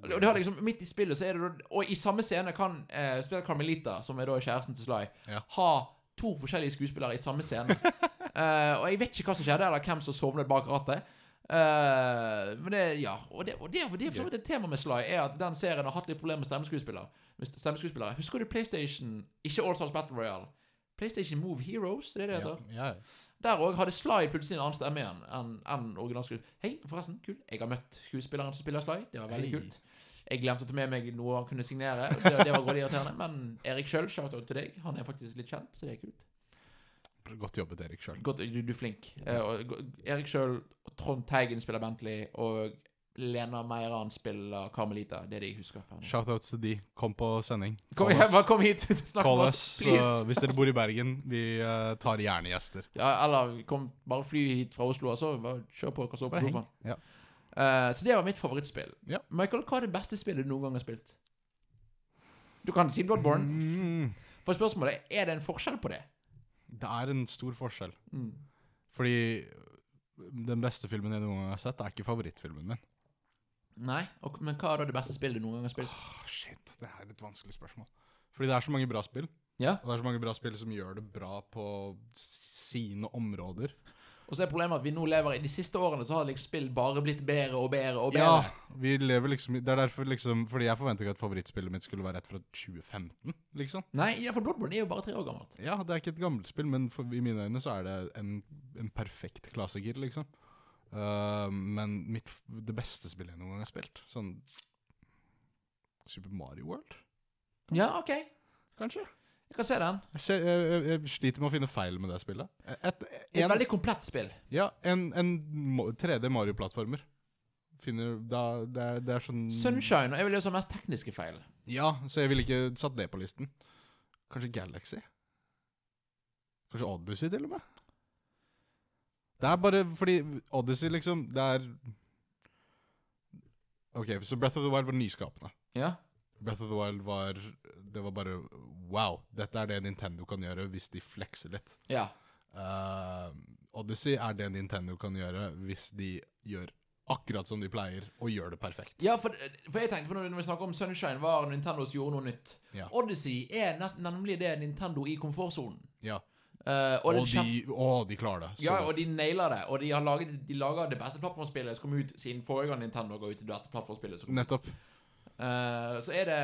Speaker 1: Og det har liksom, midt i spillet så er det da- Og i samme scene kan eh, spiller Carmelita, som er da kjæresten til Sly,
Speaker 2: Ja.
Speaker 1: ha to forskjellige skuespillere i samme
Speaker 2: [LAUGHS]
Speaker 1: scene. Eh, og jeg vet ikke hva som skjedde, eller hvem som sovnet bak rattet. Eh, men det, ja Og det, og det, og det er for så vidt et tema med Sly, er at den serien har hatt litt problemer med stemmeskuespillere. Med st- stemmeskuespillere. Husker du PlayStation Ikke Allstars Battle Royale. PlayStation Move Heroes, det er det det
Speaker 2: ja,
Speaker 1: heter?
Speaker 2: ja.
Speaker 1: Der òg hadde Sly plutselig en annen stemme igjen enn enn originalskuespilleren. Hei, forresten, kul. Jeg har møtt skuespilleren som spiller Sly. Det var veldig
Speaker 2: Hei.
Speaker 1: kult. Jeg glemte å ta med meg noe han kunne signere. og Det, det var grådig irriterende. Men Erik Schjøll, shout-out til deg. Han er faktisk litt kjent, så det er kult.
Speaker 2: Godt jobbet, Erik sjøl.
Speaker 1: Godt, du, du er flink. Eh, og, go- Erik Schjøll, Trond Teigen spiller Bentley, og Lena Meiran spiller Carmelita. Det er det jeg husker. per nå.
Speaker 2: Shoutouts til de. Kom på sending.
Speaker 1: Kom,
Speaker 2: Call
Speaker 1: hjem,
Speaker 2: us.
Speaker 1: bare kom hit! [LAUGHS] Snakk
Speaker 2: Call
Speaker 1: med
Speaker 2: us.
Speaker 1: oss,
Speaker 2: Så
Speaker 1: please!
Speaker 2: hvis dere bor i Bergen, vi eh, tar gjerne gjester.
Speaker 1: Ja, eller kom, bare fly hit fra Oslo, og så bare kjør på hva som er
Speaker 2: Bare
Speaker 1: på
Speaker 2: heng.
Speaker 1: sofaen.
Speaker 2: Ja.
Speaker 1: Eh, så det var mitt favorittspill.
Speaker 2: Ja.
Speaker 1: Michael, hva er det beste spillet du noen gang har spilt? Du kan si Bloodborne.
Speaker 2: Mm.
Speaker 1: For spørsmålet er er det en forskjell på det?
Speaker 2: Det er en stor forskjell.
Speaker 1: Mm.
Speaker 2: Fordi den beste filmen jeg noen gang har sett, er ikke favorittfilmen min.
Speaker 1: Nei, og, men hva er da det beste spillet du noen gang har spilt?
Speaker 2: Åh, shit, det er et vanskelig spørsmål. Fordi det er så mange bra spill.
Speaker 1: Ja.
Speaker 2: Og det er så mange bra spill som gjør det bra på sine områder.
Speaker 1: Og så er problemet at vi nå lever i de siste årene så har liksom spill bare blitt bedre og bedre og bedre.
Speaker 2: Ja, vi lever liksom i- Det er derfor liksom Fordi jeg forventa ikke at favorittspillet mitt skulle være et fra 2015, liksom.
Speaker 1: Nei, ja, for Bloodborne er jo bare tre år gammelt.
Speaker 2: Ja, det er ikke et gammelt spill, men for, i mine øyne så er det en, en perfekt klassiker, liksom. Eh, men mitt, f- det beste spillet jeg noen gang har spilt, sånn Super Mario World,
Speaker 1: Ja, OK. Jeg
Speaker 2: kanskje?
Speaker 1: kan se den.
Speaker 2: Jeg, ser, jeg, jeg, jeg sliter med å finne feil med det spillet. Et,
Speaker 1: Et
Speaker 2: en,
Speaker 1: veldig komplett spill.
Speaker 2: ja, en, en mo- 3D Mario-plattformer. Finner da, det, er, det er sånn
Speaker 1: Sunshine og jeg vil gjøre sånn mest tekniske feil.
Speaker 2: Ja, så jeg ville ikke satt det på listen. Kanskje Galaxy? Kanskje Odyssey, til og med? Det er bare fordi Odyssey, liksom, det er OK, så Breath of the Wild var nyskapende.
Speaker 1: Ja.
Speaker 2: Breath of the Wild var Det var bare wow. Dette er det Nintendo kan gjøre hvis de flekser litt.
Speaker 1: ja.
Speaker 2: Eh, Odyssey er det Nintendo kan gjøre hvis de gjør akkurat som de pleier, og gjør det perfekt.
Speaker 1: Ja, for, for jeg tenkte på når vi snakker om Sunshine, var Nintendos gjorde noe nytt.
Speaker 2: Ja.
Speaker 1: Odyssey er nett, nemlig det Nintendo i komfortsonen.
Speaker 2: Ja.
Speaker 1: Eh, og,
Speaker 2: Og,
Speaker 1: den kjem-
Speaker 2: de, å, de klarer det. så
Speaker 1: ja,
Speaker 2: godt.
Speaker 1: og de nailer det. Og de har laget, de lager det beste plattformspillet som kom ut siden forrige gang Nintendo ga ut det beste plattformspillet. som kom ut.
Speaker 2: Nettopp.
Speaker 1: Eh, så er det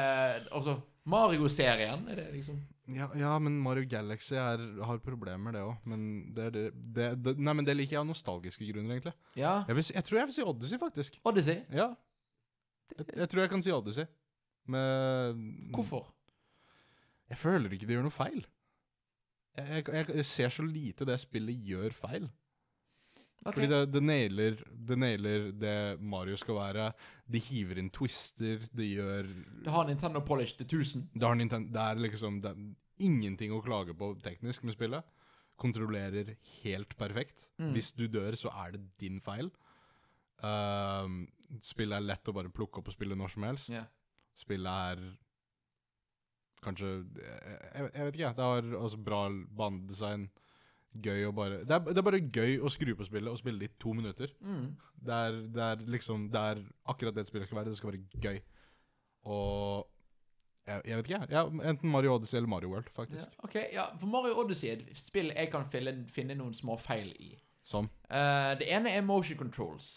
Speaker 1: altså Mario-serien er det liksom
Speaker 2: Ja, ja, men Mario Galaxy er, har problemer, det òg. Men det, er det, det, det Nei, men det liker jeg av nostalgiske grunner, egentlig.
Speaker 1: Ja.
Speaker 2: Jeg, vil, si- jeg tror jeg vil si Odyssey, faktisk.
Speaker 1: Odyssey.
Speaker 2: Ja. Jeg, jeg tror jeg kan si Odyssey. Men
Speaker 1: Hvorfor?
Speaker 2: Mm. Jeg føler ikke det gjør noe feil. Jeg, jeg, jeg, jeg ser så lite det spillet gjør feil.
Speaker 1: Ok.
Speaker 2: Fordi det, det, nailer, det nailer det Mario skal være. De hiver inn twister. Det gjør
Speaker 1: Det har Nintendo Polish til 1000.
Speaker 2: Det, har Ninten- det er liksom det er ingenting å klage på teknisk med spillet. Kontrollerer helt perfekt.
Speaker 1: Mm.
Speaker 2: Hvis du dør, så er det din feil. Ehm, spillet er lett å bare plukke opp og spille når som helst.
Speaker 1: Ja.
Speaker 2: Spillet er kanskje Jeg, jeg vet ikke, jeg. Det har altså bra banedesign. Gøy å bare det er, det er bare gøy å skru på spillet og spille det i to minutter.
Speaker 1: Mm.
Speaker 2: Det er, det er liksom Det er akkurat det et spill skal være. Det skal være gøy. Og jeg, jeg vet ikke, jeg. Ja, enten Mario Odyssey eller Mario World,
Speaker 1: Ja,
Speaker 2: faktisk.
Speaker 1: ok, ja, for Mario Odyssey er et spill jeg kan finne, finne noen små feil i.
Speaker 2: Som.
Speaker 1: Eh, det ene er motion controls,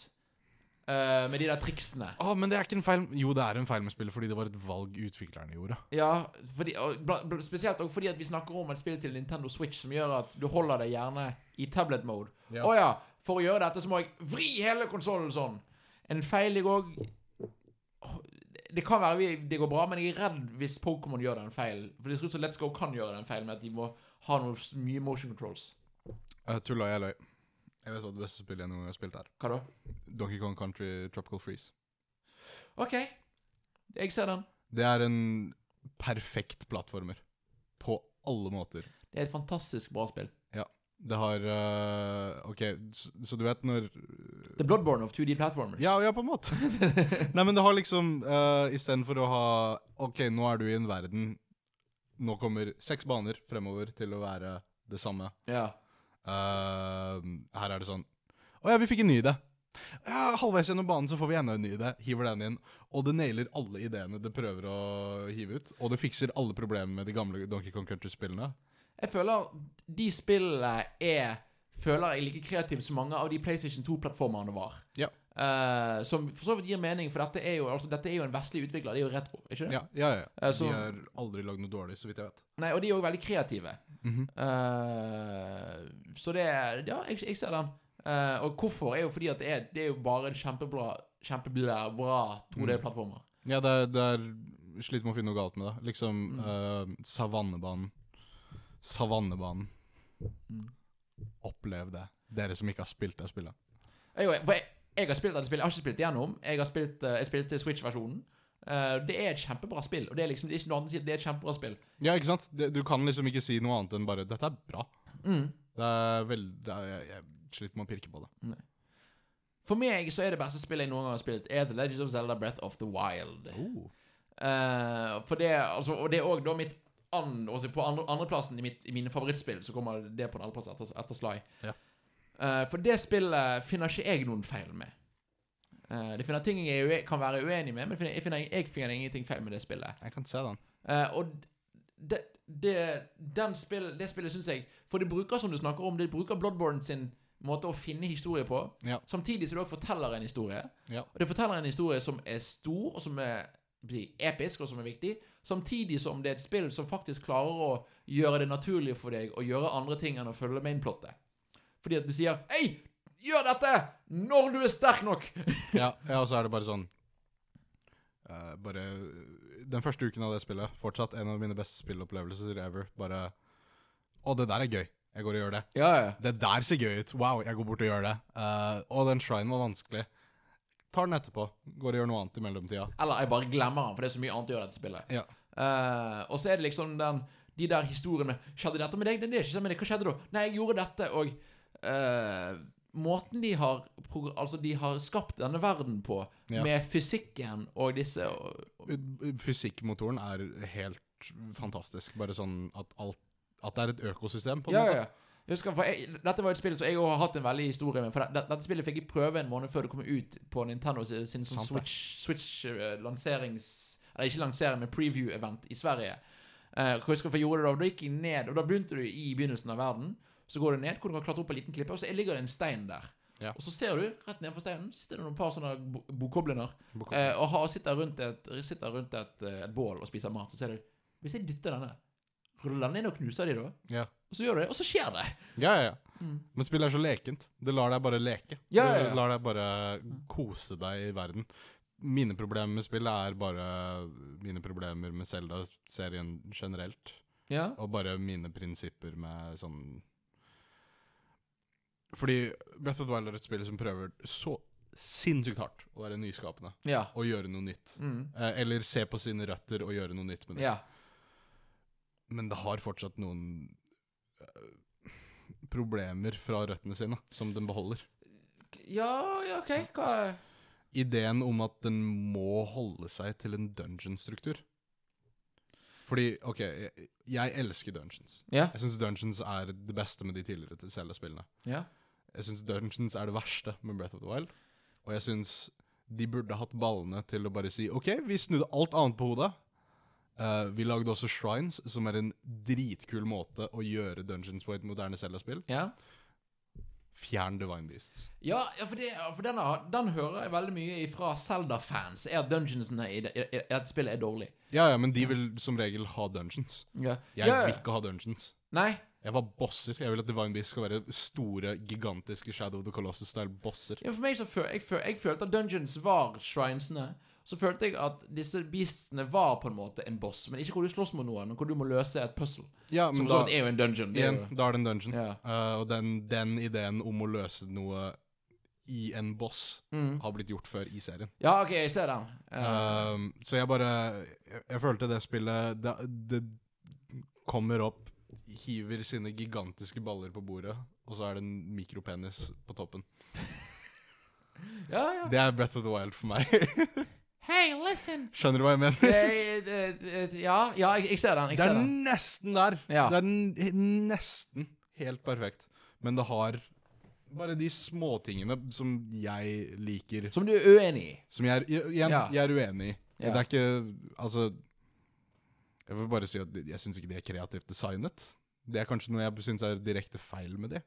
Speaker 1: eh, med de der triksene.
Speaker 2: Å, Ah, men det er ikke en feil Jo, det er en feil med spillet, fordi det var et valg utviklerne gjorde.
Speaker 1: Ja, fordi, og, bla- bla- Spesielt også fordi at vi snakker om et spill til Nintendo Switch som gjør at du holder deg gjerne i tablet-mode. Å
Speaker 2: Ja.
Speaker 1: ja. for å gjøre dette så må jeg vri hele konsollen sånn. En feil jeg òg Det kan være vi- det går bra, men jeg er redd hvis Pokémon gjør den feilen. For det ser ut som Let's Go kan gjøre den feilen med at de må ha noe s- mye motion controls.
Speaker 2: Uh, Tulla, jeg løy. Jeg vet hva det beste spillet jeg noen gang har spilt, er.
Speaker 1: Hva da?
Speaker 2: Donkey Kong Country Tropical Freeze.
Speaker 1: OK, jeg ser den.
Speaker 2: Det er en perfekt plattformer. På alle måter.
Speaker 1: Det er et fantastisk bra spill.
Speaker 2: Det har eh, OK, så, så du vet når
Speaker 1: The Bloodborne of 2D Platformers.
Speaker 2: Ja, ja, på en måte. [LAUGHS] Nei, men det har liksom uh, Istedenfor å ha OK, nå er du i en verden Nå kommer seks baner fremover til å være det samme.
Speaker 1: Ja.
Speaker 2: Eh, her er det sånn Å ja, vi fikk en ny idé. Ja, halvveis gjennom banen så får vi enda en ny idé. Hiver den inn. Og det nailer alle ideene det prøver å hive ut. Og det fikser alle problemene med de gamle Donkey Kong Country-spillene.
Speaker 1: Jeg føler de spillene er Føler jeg er like kreative som mange av de PlayStation 2-plattformene var.
Speaker 2: Ja.
Speaker 1: Eh, som for så vidt gir mening, for dette er jo, altså, dette er jo en vestlig utvikler. Det er jo retro. ikke det?
Speaker 2: Ja, ja, ja.
Speaker 1: Eh, så-
Speaker 2: De har aldri lagd noe dårlig, så vidt jeg vet.
Speaker 1: Nei, Og de er jo veldig kreative.
Speaker 2: Mhm.
Speaker 1: Eh, så det er Ja, jeg, jeg ser den. Eh, og hvorfor er jo fordi at det er, det er jo bare en kjempebra Kjempebra
Speaker 2: Mm.
Speaker 1: bra 2D-plattformer.
Speaker 2: Ja, det er, det er Sliter med å finne noe galt med det. Liksom eh, Savannebanen. Savannebanen.
Speaker 1: Mm.
Speaker 2: Opplev det. Dere som ikke har spilt det spillet.
Speaker 1: Jeg, jeg, jeg har spilt dette spillet, jeg har ikke spilt det gjennom. Jeg har spilt, eh, jeg spilte Switch-versjonen. Eh, det er et kjempebra spill. Og det er liksom det er ikke noe annet å si, det er et kjempebra spill.
Speaker 2: Ja, ikke sant? Det- Du kan liksom ikke si noe annet enn bare 'Dette er bra'.
Speaker 1: Mm.
Speaker 2: Det er vel, det er, jeg, jeg sliter med å pirke på det.
Speaker 1: For meg så er det beste spillet jeg noen gang har spilt, er The Legends of Zelda Breath of the Wild. Eh, for det, altså, og det er òg da mitt an, altså På andre, andreplassen i, mitt, i mine favorittspill så kommer det på en andreplass etter, etter Sly.
Speaker 2: Ja.
Speaker 1: Eh, for det spillet finner ikke jeg noen feil med. Eh, det finner ting jeg er ue- kan være uenig med, men finner, jeg, finner, jeg finner ingenting feil med det spillet.
Speaker 2: Jeg kan se den.
Speaker 1: Eh, og det, det, den spill, det spillet syns jeg For det bruker, som du snakker om, det bruker Bloodborne sin måte å finne historie på.
Speaker 2: Ja.
Speaker 1: Samtidig som det også forteller en historie.
Speaker 2: Ja.
Speaker 1: Og det forteller en historie som er stor, og som er bli, episk, og som er viktig. Samtidig som det er et spill som faktisk klarer å gjøre det naturlig for deg å gjøre andre ting enn å følge mainplottet. Fordi at du sier 'Hei, gjør dette! Når du er sterk nok!'
Speaker 2: Ja, ja, og så er det bare sånn eh, Bare Den første uken av det spillet, fortsatt en av mine beste spillopplevelser ever. Bare Å, det der er gøy. Jeg går og gjør det.
Speaker 1: Ja, ja.
Speaker 2: Det der ser gøy ut. Wow, jeg går bort og gjør det. Eh, og den shrinen var vanskelig. Tar den etterpå. Går og gjør noe annet i mellomtida.
Speaker 1: Eller jeg bare glemmer han, for det er så mye annet å gjøre i dette spillet.
Speaker 2: Ja.
Speaker 1: Eh, og så er det liksom den, de der historiene 'Skjedde dette med deg?' Nei, det er ikke sånn, men hva skjedde da? Nei, jeg gjorde dette, og eh, Måten de har, progr- altså de har skapt denne verden på,
Speaker 2: Ja.
Speaker 1: med fysikken og disse og, og,
Speaker 2: Fysikkmotoren er helt fantastisk. Bare sånn at alt At det er et økosystem, på en
Speaker 1: Ja, ja,
Speaker 2: måte.
Speaker 1: ja. Jeg husker, for jeg, dette var et spill som jeg også har hatt en veldig historie med. For det, dette spillet fikk jeg prøve en måned før det kom ut på Nintendo sin, sin sånn
Speaker 2: Sant det.
Speaker 1: Switch-lanserings... eller ikke lansering, men preview-event i Sverige. Eh, hvor jeg husker, for jeg gjorde det, da, da gikk jeg ned, og da begynte du i begynnelsen av verden. Så går du ned, hvor du kan klatre opp en liten klippe, og så ligger det en stein der.
Speaker 2: Ja.
Speaker 1: Og så ser du, rett nedenfor steinen, så sitter det noen par sånne bo- bokobliner.
Speaker 2: Bok-
Speaker 1: Eh, og har, sitter rundt, et, sitter rundt et, eh, et bål og spiser mat. Så ser du Hvis jeg dytter denne, ruller den inn og knuser de da?
Speaker 2: Ja.
Speaker 1: Og så gjør du det, og så skjer det.
Speaker 2: Ja, ja, ja.
Speaker 1: Mm.
Speaker 2: Men spillet er så lekent. Det lar deg bare leke.
Speaker 1: Ja, ja, ja.
Speaker 2: Det lar deg bare kose deg i verden. Mine problemer med spillet er bare mine problemer med Zelda-serien generelt.
Speaker 1: Ja.
Speaker 2: Og bare mine prinsipper med sånn Fordi Breath of the Wild er et spill som prøver så sinnssykt hardt å være nyskapende
Speaker 1: Ja.
Speaker 2: og gjøre noe nytt.
Speaker 1: Mm.
Speaker 2: Eh, Eller se på sine røtter og gjøre noe nytt med det.
Speaker 1: ja.
Speaker 2: Men det har fortsatt noen eh, problemer fra røttene sine som den beholder.
Speaker 1: Ja, ja, OK. Hva
Speaker 2: Ideen om at den må holde seg til en dungeon-struktur. Fordi, OK, jeg, jeg elsker dungeons.
Speaker 1: Ja.
Speaker 2: Jeg syns dungeons er det beste med de tidligere Zelda-spillene.
Speaker 1: Ja.
Speaker 2: Jeg syns dungeons er det verste med Breath of the Wild. Og jeg syns de burde hatt ballene til å bare si OK, vi snudde alt annet på hodet. Eh, vi lagde også shrines, som er en dritkul måte å gjøre dungeons på i et moderne Zelda-spill.
Speaker 1: Ja,
Speaker 2: Fjern Divine Beasts.
Speaker 1: ja ja, for, det, ja, for den, har, den hører jeg veldig mye fra Zelda-fans. Er at dungeonsene i, det- i, i dette spillet er dårlig.
Speaker 2: Ja, ja, men de vil som regel ha dungeons.
Speaker 1: Ja.
Speaker 2: Jeg
Speaker 1: ja,
Speaker 2: vil ikke ha dungeons.
Speaker 1: Nei.
Speaker 2: Jeg var bosser. Jeg vil at Divine Beasts skal være store, gigantiske Shadow of the Colossus-style bosser.
Speaker 1: Ja, for meg så føl, jeg, føl, jeg følte at dungeons var shrinesene. Så følte jeg at disse beastene var på en måte en boss, men ikke hvor du slåss mot noen, men hvor du må løse et puzzle.
Speaker 2: Ja,
Speaker 1: Som
Speaker 2: men
Speaker 1: for så
Speaker 2: da,
Speaker 1: vidt er jo en dungeon. Det er
Speaker 2: igjen,
Speaker 1: jo,
Speaker 2: da er det en dungeon.
Speaker 1: ja.
Speaker 2: Eh, og den, den ideen om å løse noe i en boss
Speaker 1: Mm.
Speaker 2: har blitt gjort før i serien.
Speaker 1: ja, OK, jeg ser den. Eh,
Speaker 2: Um, så jeg bare jeg, jeg følte det spillet det, det kommer opp, hiver sine gigantiske baller på bordet, og så er det en mikropenis på toppen.
Speaker 1: ja, ja.
Speaker 2: Det er Breath of the Wild for meg. [LAUGHS]
Speaker 1: Hey, listen!
Speaker 2: Skjønner du hva jeg mener?
Speaker 1: Det- det- det- ja, ja, jeg, jeg ser den. Jeg
Speaker 2: Det
Speaker 1: ser
Speaker 2: er
Speaker 1: den.
Speaker 2: nesten der.
Speaker 1: Ja.
Speaker 2: Det er n- nesten helt perfekt. Men det har bare de småtingene som jeg liker
Speaker 1: Som du er uenig i.
Speaker 2: Som jeg er, igjen,
Speaker 1: Ja.
Speaker 2: jeg er uenig i.
Speaker 1: Ja.
Speaker 2: Det er ikke Altså Jeg vil bare si at jeg syns ikke det er kreativt designet. Det er kanskje noe jeg syns er direkte feil med det.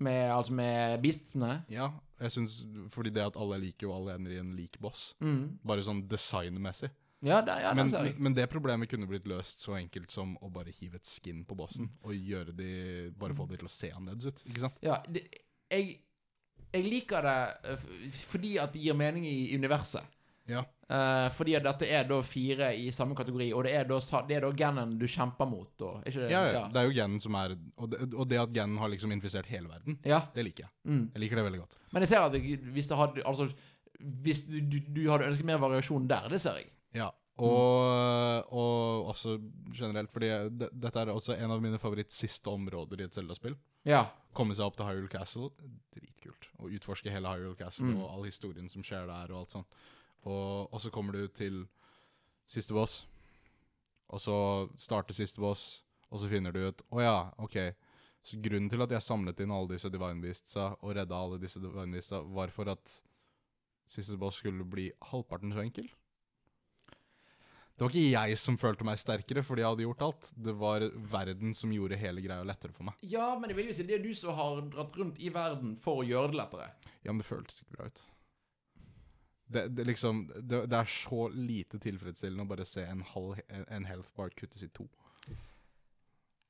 Speaker 1: Med, altså med beastsene.
Speaker 2: Ja, jeg synes, Fordi det at alle er like, og alle ender i en lik boss.
Speaker 1: Mm.
Speaker 2: Bare sånn designmessig.
Speaker 1: Ja, der, ja, den
Speaker 2: Men,
Speaker 1: ser jeg.
Speaker 2: men det problemet kunne blitt løst så enkelt som å bare hive et skin på bossen. Og gjøre de, bare få de til å se annerledes ut. Ikke sant?
Speaker 1: Ja, det, jeg, jeg liker det eh, f- fordi at det gir mening i universet.
Speaker 2: Ja.
Speaker 1: Eh, fordi at dette er da fire i samme kategori, og det er da, sa- det er da genen du kjemper mot. Og, er ikke det?
Speaker 2: Ja, ja. Det er jo genen som er og det, og det at genen har liksom infisert hele verden,
Speaker 1: Ja,
Speaker 2: det liker jeg.
Speaker 1: Mm.
Speaker 2: Jeg liker det veldig godt.
Speaker 1: Men jeg ser at jeg- hvis, det hadde, altså, hvis du, du, du hadde ønsket mer variasjon der, det ser jeg.
Speaker 2: Ja, og, og også generelt, fordi de, dette er også en av mine favoritt siste områder i et Zelda-spill.
Speaker 1: Ja.
Speaker 2: Komme seg opp til Hyrule Castle, dritkult. Og utforske hele Hyrule Castle
Speaker 1: Mm.
Speaker 2: og all historien som skjer der og alt sånt. Og, og så kommer du til siste boss, og så starter siste boss, og så finner du ut, å ja, ok, Så grunnen til at jeg samlet inn alle disse Divine Beastsa og redda alle disse Divine Beastsa, var for at siste boss skulle bli halvparten så enkel. Det var ikke jeg som følte meg sterkere fordi jeg hadde gjort alt. Det var verden som gjorde hele greia lettere for meg.
Speaker 1: Ja, men jeg vil jo si det er du som har dratt rundt i verden for å gjøre det lettere.
Speaker 2: Ja, men det føltes ikke bra ut. Det, det, liksom, det, det er så lite tilfredsstillende å bare se en, halv, en health bar kuttes i to.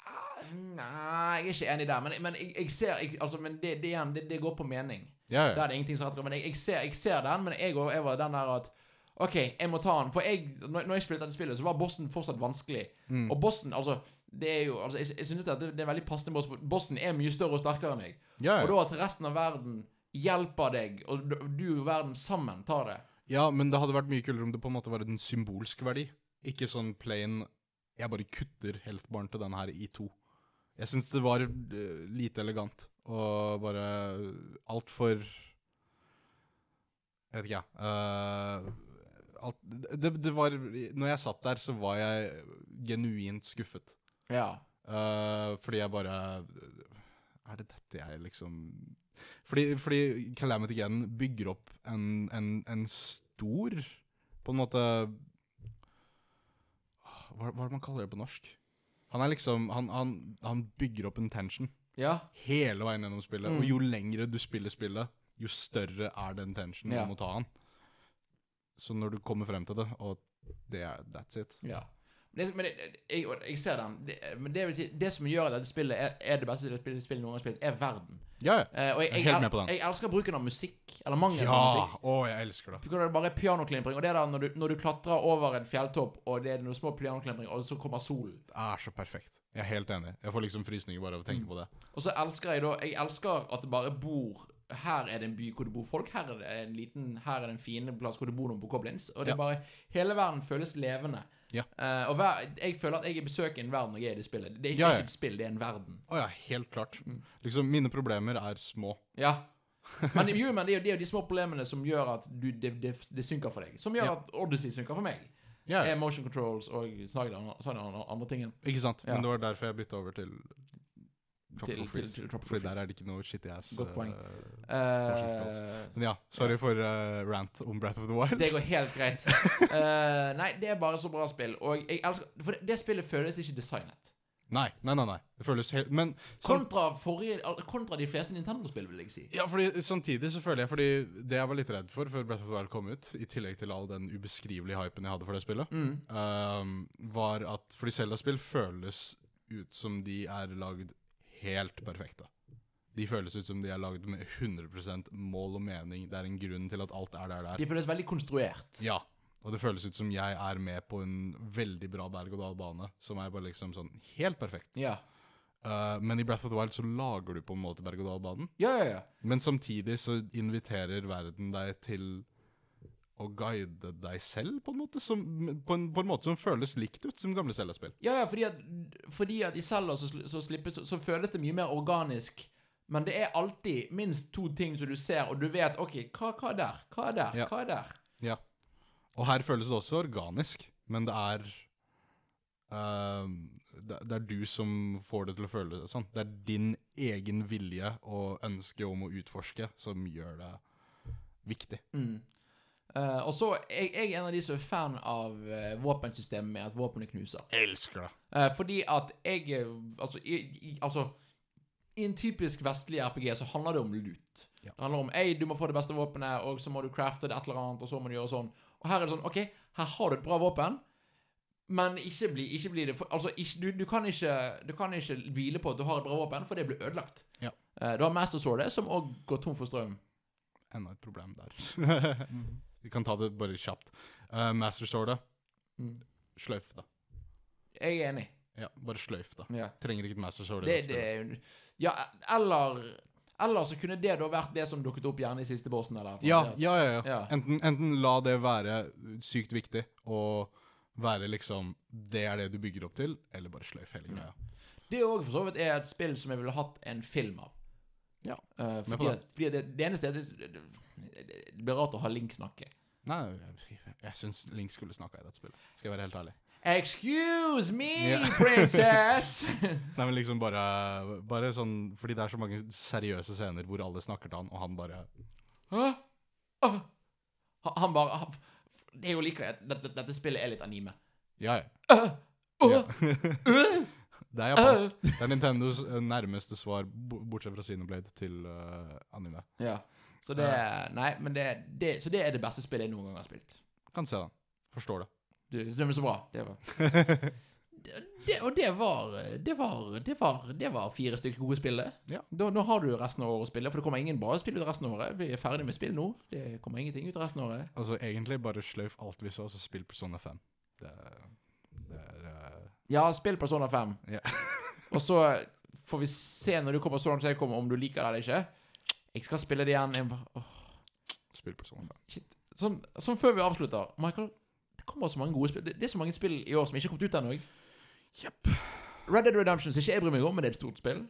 Speaker 1: Ah, Nei, jeg er ikke enig der, men, men jeg, jeg ser jeg, altså, men det, det, igjen, det, det går på mening.
Speaker 2: Ja,
Speaker 1: Der
Speaker 2: ja.
Speaker 1: er det ingenting som heter Men jeg, jeg, ser, jeg ser den, men jeg, og- jeg var den der at OK, jeg må ta den. For jeg, når, når jeg spilte dette spillet, så var bossen fortsatt vanskelig.
Speaker 2: Mm.
Speaker 1: Og bossen, altså Det er jo altså, Jeg, jeg synes at det, det er en veldig passende boss, for bossen er mye større og sterkere enn deg.
Speaker 2: ja,
Speaker 1: Og
Speaker 2: ja.
Speaker 1: da at resten av verden hjelper deg, og du- du og verden sammen tar det
Speaker 2: ja, men det hadde vært mye kulere om det på en måte var en symbolsk verdi. Ikke sånn plain Jeg bare kutter health baren til den her i to. Jeg syns det var eh, lite elegant og bare altfor Jeg vet ikke, jeg. eh, alt, det, det var Når jeg satt der, så var jeg genuint skuffet.
Speaker 1: Ja.
Speaker 2: Eh, fordi jeg bare Er det dette jeg liksom Fordi, fordi Calamity Ganon bygger opp en, en, en stor På en måte hva, hva er det man kaller det på norsk? Han er liksom Han, han, han bygger opp en tension
Speaker 1: Ja.
Speaker 2: hele veien gjennom spillet.
Speaker 1: Mm.
Speaker 2: Og jo lengre du spiller spillet, jo større er den tensionen
Speaker 1: Ja.
Speaker 2: du må ta han. Så når du kommer frem til det, og det er that's it.
Speaker 1: ja. Men, det, men det, jeg, jeg ser den. Det, men det, vil si, det som gjør at dette spillet er, er det beste spillet spillet noen gang har spilt, er verden.
Speaker 2: Ja, ja.
Speaker 1: Eh, og jeg,
Speaker 2: Jeg er
Speaker 1: jeg,
Speaker 2: helt
Speaker 1: el-
Speaker 2: med på den.
Speaker 1: jeg elsker bruken av musikk, eller mangelen
Speaker 2: Ja!
Speaker 1: på musikk.
Speaker 2: Å, jeg elsker det.
Speaker 1: For Det er bare pianoklimpring, og det er da når du, når du klatrer over en fjelltopp, og det er noen små pianoklimpring, og så kommer solen.
Speaker 2: Det er så perfekt. Jeg er helt enig. Jeg får liksom frysninger bare av å
Speaker 1: Mm.
Speaker 2: tenke på det.
Speaker 1: Og så elsker jeg da Jeg elsker at det bare bor Her er det en by hvor det bor folk, her er det en liten Her er det en fin plass hvor det bor noen på Goblins. Og det
Speaker 2: Ja.
Speaker 1: er bare Hele verden føles levende.
Speaker 2: Ja.
Speaker 1: Eh, og hver, jeg føler at jeg besøker en verden når jeg er i det spillet. Det er ikke,
Speaker 2: Ja, ja.
Speaker 1: ikke et spill, det er en verden.
Speaker 2: Å ja, helt klart.
Speaker 1: Mm.
Speaker 2: Liksom, mine problemer er små.
Speaker 1: Ja. Men jo, men det er jo, det er jo de små problemene som gjør at du, det, det, det synker for deg. Som gjør
Speaker 2: Ja.
Speaker 1: at Odyssey synker for meg.
Speaker 2: Ja, ja.
Speaker 1: Eh, motion controls og sånne andre, andre tingen.
Speaker 2: Ikke sant?
Speaker 1: Ja.
Speaker 2: Men det var derfor jeg bytta over til Tropical
Speaker 1: til-
Speaker 2: Freeze.
Speaker 1: til Tropical
Speaker 2: Fordi
Speaker 1: Freeze.
Speaker 2: der er det ikke noe shitty ass.
Speaker 1: Godt
Speaker 2: eh,
Speaker 1: Eh,
Speaker 2: Men ja, sorry for eh, rant om Breath of the Wild.
Speaker 1: det går helt greit. Eh, nei, det er bare så bra spill. Og jeg elsker, for det, det spillet føles ikke designet.
Speaker 2: Nei, nei, nei. nei. Det føles helt Men sånn sam-
Speaker 1: Kontra, forrige, al- kontra de fleste Nintendo-spill, vil jeg si.
Speaker 2: ja, fordi samtidig så føler jeg Fordi det jeg var litt redd for før Breath of the Wild kom ut, i tillegg til all den ubeskrivelige hypen jeg hadde for det spillet,
Speaker 1: Mm.
Speaker 2: um, var at Fordi Zelda-spill føles ut som de er lagd helt perfekte. De føles ut som de er lagd med 100 mål og mening. Det er en grunn til at alt er der det
Speaker 1: De
Speaker 2: er.
Speaker 1: føles veldig konstruert.
Speaker 2: Ja. Og det føles ut som jeg er med på en veldig bra berg-og-dal-bane, som er bare liksom sånn helt perfekt.
Speaker 1: Ja,
Speaker 2: Uh, men i Breath of the Wild så lager du på en måte berg-og-dal-banen,
Speaker 1: ja, ja. ja.
Speaker 2: men samtidig så inviterer verden deg til å guide deg selv, på en måte, som, på, en, på en måte som føles likt ut som gamle Zelda-spill.
Speaker 1: Ja, ja, fordi at, fordi at i Zelda så, sl- så, slippes, så, så føles det mye mer organisk. Men det er alltid minst to ting som du ser, og du vet OK, hva, hva er der? Hva er der?
Speaker 2: Ja.
Speaker 1: Hva er der?
Speaker 2: Ja. Og her føles det også organisk, men det er ehm, det, det er du som får det til å føle det sånn. Det er din egen vilje og ønske om å utforske som gjør det viktig.
Speaker 1: Mm. Eh, og så jeg, jeg er en av de som er fan av eh, våpensystemet med at våpenet knuser.
Speaker 2: Elsker det.
Speaker 1: Eh, fordi at jeg eh, altså i, i, altså i en typisk vestlig RPG så handler det om loot.
Speaker 2: Ja.
Speaker 1: Det handler om ei, du må få det beste våpenet, og så må du crafte det et eller annet, og så må du gjøre sånn. Og her er det sånn OK, her har du et bra våpen, men ikke bli, ikke bli det for, Altså, ikke, du, du, kan ikke, du kan ikke hvile på at du har et bra våpen, for det blir ødelagt.
Speaker 2: Ja.
Speaker 1: Eh, du har Master Swordet, som òg går tom for strøm.
Speaker 2: Enda et problem der. [LAUGHS] Vi kan ta det bare kjapt. Uh, Master Swordet,
Speaker 1: Mm.
Speaker 2: sløyf det.
Speaker 1: Jeg er enig.
Speaker 2: Ja, bare sløyf det.
Speaker 1: Ja.
Speaker 2: Trenger ikke et Master Sword. i
Speaker 1: Det,
Speaker 2: dette
Speaker 1: det
Speaker 2: spillet.
Speaker 1: er jo Ja, e, eller Eller så kunne det da vært det som dukket opp gjerne i siste bossen, eller
Speaker 2: Ja, ja, ja. ja.
Speaker 1: Ja.
Speaker 2: Enten, enten la det være sykt viktig og være liksom Det er det du bygger opp til, eller bare sløyf hele greia.
Speaker 1: Det òg for så vidt er et spill som jeg ville hatt en film av.
Speaker 2: Ja,
Speaker 1: Eh,
Speaker 2: med
Speaker 1: fordi
Speaker 2: på
Speaker 1: at, fordi at det, det eneste er at det, det, det blir rart å ha Link snakke.
Speaker 2: Nei, jeg, jeg syns Link skulle snakka i dette spillet. Skal jeg være helt ærlig.
Speaker 1: Excuse me,
Speaker 2: Ja. [LAUGHS]
Speaker 1: princess!
Speaker 2: Nei, men liksom bare, bare sånn Fordi det er så mange seriøse scener hvor alle snakker til han, og han bare
Speaker 1: Hæ? Åh. Han- Han bare han, Det er jo like at dette, dette spillet er litt anime.
Speaker 2: Ja, ja.
Speaker 1: Åh,
Speaker 2: ja.
Speaker 1: øh.
Speaker 2: Det er japansk. [LAUGHS] Det er Nintendos eh, nærmeste svar, bo- bortsett fra Xenoblade, til eh, anime.
Speaker 1: ja. Så det Nei, men det, det Så det er det beste spillet jeg noen gang har spilt.
Speaker 2: Kan se den. Forstår det.
Speaker 1: Du, det er så bra. Det var det, [LAUGHS] det- Og det var Det var Det var, det var fire stykker gode spill, det.
Speaker 2: Ja.
Speaker 1: Da, nå har du resten av året å spille, for det kommer ingen bra spill ut resten av året. Vi er ferdig med spill nå. Det kommer ingenting ut resten av året.
Speaker 2: Altså, egentlig bare sløyf alt vi så, så spill Persona 5. Det, det er eh,
Speaker 1: Ja, spill Persona 5.
Speaker 2: Ja.
Speaker 1: [LAUGHS] og så får vi se når du kommer så langt som jeg kommer, om du liker det eller ikke. Jeg skal spille det igjen. Jeg bare, åh.
Speaker 2: Spill Persona 5.
Speaker 1: Sånn, sånn før vi avslutter Michael, det kommer så mange gode spill Det, det er så mange spill i år som ikke har kommet ut ennå.
Speaker 2: Jepp.
Speaker 1: Red Dead Redemption som ikke jeg bryr meg om, men det er et stort spill.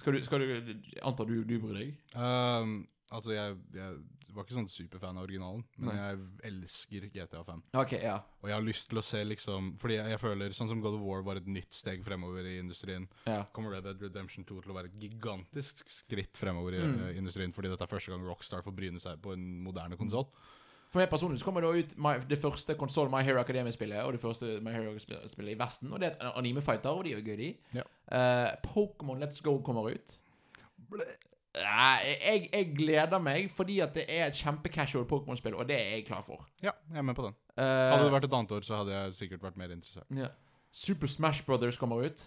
Speaker 1: Skal du, skal du jeg antar du, du bryr deg?
Speaker 2: Ehm, altså, jeg, jeg var ikke sånn superfan av originalen, men
Speaker 1: Nei.
Speaker 2: jeg elsker GTA5.
Speaker 1: Ok, ja.
Speaker 2: Og jeg har lyst til å se liksom Fordi jeg, jeg føler sånn som God of War var et nytt steg fremover i industrien,
Speaker 1: ja.
Speaker 2: kommer Red Dead Redemption 2 til å være et gigantisk skritt fremover i
Speaker 1: Mm.
Speaker 2: eh, industrien, fordi dette er første gang Rockstar får bryne seg på en moderne konsoll.
Speaker 1: Mm. For meg personlig så kommer det ut my, det første konsoll My Hero Academia-spillet og det første My Hero Academia-spillet i Vesten. Og det er et anime-fighter, og de er jo gøy, de.
Speaker 2: Ja.
Speaker 1: Eh, Pokémon Let's Go kommer ut. Nei, jeg, jeg gleder meg fordi at det er et kjempecasual Pokémon-spill, og det er jeg klar for.
Speaker 2: Ja, jeg er med på den.
Speaker 1: Eh,
Speaker 2: Hadde det vært et annet år, så hadde jeg sikkert vært mer interessert.
Speaker 1: Ja. Super Smash Brothers kommer ut.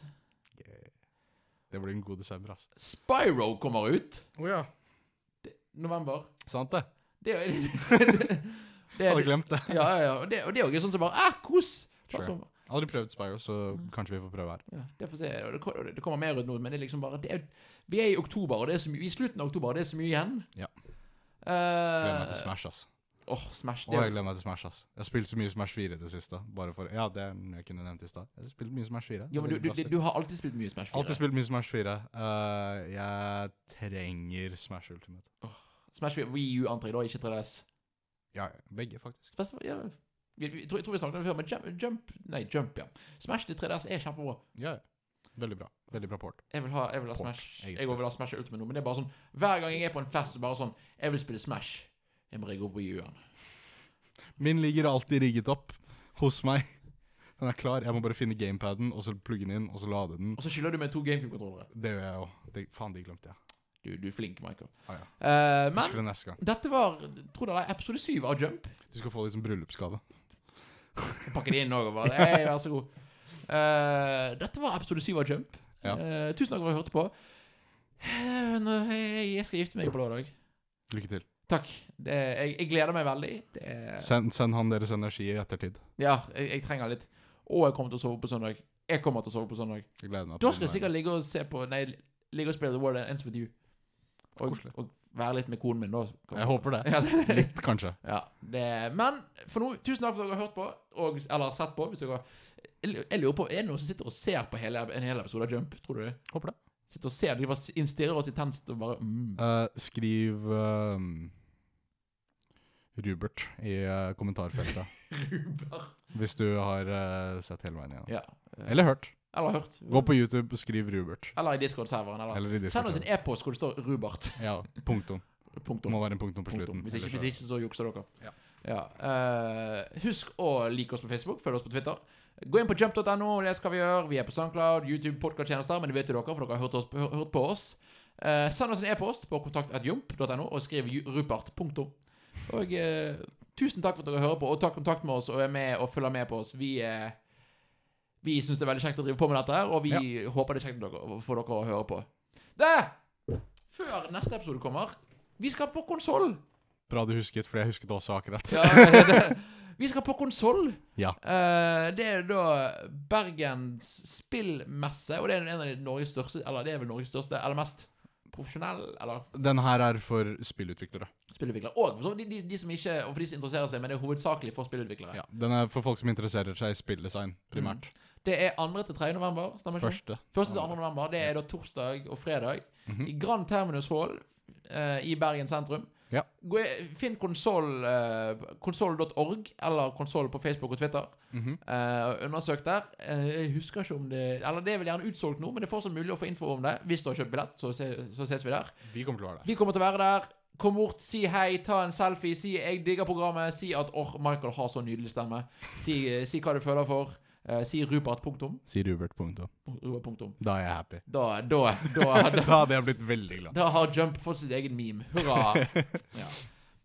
Speaker 2: Det blir en god desember, altså.
Speaker 1: Spyro kommer ut.
Speaker 2: Å ja.
Speaker 1: November.
Speaker 2: Sant det.
Speaker 1: [LAUGHS] Det er det, er-
Speaker 2: Hadde glemt det.
Speaker 1: Ja, ja, ja. Og det, og det er jo gøy, sånn som bare ah, kos! Bare
Speaker 2: Sure.
Speaker 1: sånn,
Speaker 2: Aldri prøvd Spyro, så kanskje vi får prøve her.
Speaker 1: Ja, det får se. Og det, ko- og det kommer mer ut nå, men det er liksom bare det er, Vi er i oktober, og det er så mye i slutten av oktober, og det er så mye igjen.
Speaker 2: Ja. Gleder meg til
Speaker 1: Uh,
Speaker 2: Smash, ass.
Speaker 1: Åh, Smash.
Speaker 2: Å,
Speaker 1: Det, er
Speaker 2: jeg
Speaker 1: jo-
Speaker 2: gleder meg til Smash, ass. Jeg har spilt så mye Smash 4 i det siste. Bare for Ja, det er den jeg kunne nevnt i stad. Jeg har spilt mye Smash 4.
Speaker 1: jo, men du, du, du, du har alltid spilt mye Smash 4.
Speaker 2: Alltid spilt mye Smash 4. Eh, jeg trenger Smash Ultimate.
Speaker 1: Smash 4 Wii U, antar jeg, da, ikke 3DS.
Speaker 2: Ja, begge, faktisk.
Speaker 1: Fast- Ja. Vi, vi, jeg tror, jeg tror vi snakket om det før, men jump, jump Nei, Jump, ja. Smash til 3DS er kjempebra.
Speaker 2: Ja, ja. Veldig bra. Veldig bra port.
Speaker 1: Jeg vil ha, jeg vil ha
Speaker 2: Port,
Speaker 1: Smash Jeg
Speaker 2: egentlig.
Speaker 1: også vil ha Smash Ultimate nå, men det er bare sånn Hver gang jeg er på en fest, så bare sånn Jeg vil spille Smash. Jeg må rigge opp på U-en.
Speaker 2: Min ligger alltid rigget opp hos meg. Den er klar. Jeg må bare finne gamepaden, og så plugge den inn, og så lade den.
Speaker 1: Og så skylder du meg to GameCube-kontrollere.
Speaker 2: Det gjør jeg òg. Faen, de glemte jeg.
Speaker 1: Du, du er flink, Michael.
Speaker 2: Ah, ja.
Speaker 1: Eh,
Speaker 2: Jeg
Speaker 1: men
Speaker 2: Husker det neste gang.
Speaker 1: dette var tror dere, episode syv av Jump.
Speaker 2: Du skal få litt som bryllupsgave.
Speaker 1: Pakke det inn òg, og bare Hei, vær så god. Eh, dette var episode syv av Jump.
Speaker 2: Ja.
Speaker 1: Eh, tusen takk for at du hørte på. Eh, nå- Jeg jeg skal gifte meg på lørdag.
Speaker 2: Lykke til.
Speaker 1: Takk. Det, jeg, jeg gleder meg veldig. Det, er-
Speaker 2: Send, send han deres energi i ettertid.
Speaker 1: ja, jeg, jeg trenger litt. Og jeg kommer til å sove på søndag. Jeg kommer til å sove på søndag.
Speaker 2: Jeg gleder meg.
Speaker 1: Da skal jeg sikkert ligge og se på Nei, ligge og spille The World Ends With You. Og,
Speaker 2: Koselig.
Speaker 1: og være litt med konen min, da.
Speaker 2: Jeg håper det.
Speaker 1: Ja, det,
Speaker 2: Litt, kanskje.
Speaker 1: ja, det Men for nå, tusen takk for at dere har hørt på, og, eller sett på. Hvis dere jeg jeg lurer på, Er det noen som sitter og ser på hele, en hel episode av Jump? Tror du det?
Speaker 2: Håper det.
Speaker 1: Sitter og ser, De bare innstirrer oss intenst og bare mm.
Speaker 2: Eh, skriv ehm, Rubert i
Speaker 1: [LAUGHS]
Speaker 2: eh, kommentarfeltet
Speaker 1: Ruber.
Speaker 2: hvis du har eh, sett hele veien igjen.
Speaker 1: Ja. eh,
Speaker 2: Eller hørt.
Speaker 1: Eller hørt.
Speaker 2: Gå på YouTube og skriv Rubert.
Speaker 1: Eller i Discord-serveren. Eller.
Speaker 2: Eller i
Speaker 1: Send oss
Speaker 2: Discord.
Speaker 1: en e-post hvor det står 'Rubert'.
Speaker 2: Ja,
Speaker 1: [LAUGHS]
Speaker 2: punktum. Det
Speaker 1: Punktum.
Speaker 2: må være en punktum på
Speaker 1: Punktum.
Speaker 2: slutten.
Speaker 1: Hvis ikke,
Speaker 2: ellers
Speaker 1: hvis ikke, så jukser dere.
Speaker 2: Ja.
Speaker 1: Ja, eh, husk å like oss på Facebook, følg oss på Twitter. Gå inn på jump.no og les hva vi gjør. Vi er på SoundCloud, YouTube, podkasttjenester, men det vet jo dere, for dere har hørt, oss, hør- hørt på oss. Eh, send oss en e-post på kontakt.jump.no og skriv ju- Rupert. Punktum. Og eh, tusen takk for at dere hører på, og ta kontakt med oss og er med og følger med på oss. Vi eh, vi syns det er veldig kjekt å drive på med dette, her, og vi håper det er kjekt for dere, for dere å høre på. Det! Før neste episode kommer, vi skal på konsoll!
Speaker 2: Bra du husket, for jeg husket også akkurat.
Speaker 1: [LAUGHS] Ja, det, vi skal på konsoll.
Speaker 2: Ja.
Speaker 1: Eh, det er da Bergens spillmesse, og det er en av de Norges største Eller det er vel Norges største, eller mest profesjonell, eller
Speaker 2: Den her er for spillutviklere.
Speaker 1: spillutvikler. Og for så vidt de, de, de som ikke Og for de som interesserer seg, men det er hovedsakelig for spillutviklere.
Speaker 2: Ja. Den er for folk som interesserer seg i spilldesign, primært.
Speaker 1: Det er 2. til 3. november. Stemmer ikke?
Speaker 2: Første.
Speaker 1: Første til 2. november. Det er da torsdag og fredag.
Speaker 2: Mhm.
Speaker 1: I Grand Terminus Hall eh, i Bergen sentrum.
Speaker 2: Ja.
Speaker 1: Gå i- Finn konsoll eh, konsoll.org, eller konsoll på Facebook og Twitter.
Speaker 2: Mhm.
Speaker 1: eh, og undersøk der. Eh, jeg husker ikke om det Eller det er vel gjerne utsolgt nå, men det er fortsatt mulig å få info om det hvis du har kjøpt billett. Så, se, så ses vi der.
Speaker 2: Vi kommer til å være der.
Speaker 1: Vi kommer til å være der. Kom bort, si hei, ta en selfie, si 'jeg digger programmet', si at 'åh, Michael har så nydelig stemme'. Si, eh, si hva du føler for. Eh, si Rupert punktum.
Speaker 2: Sier Rubert punktum.
Speaker 1: Rupert punktum.
Speaker 2: Da er jeg
Speaker 1: [LAUGHS]
Speaker 2: happy.
Speaker 1: Da, da, da,
Speaker 2: Da
Speaker 1: da,
Speaker 2: hadde jeg blitt veldig glad.
Speaker 1: da har Jump fått sitt eget meme. Hurra. Ja.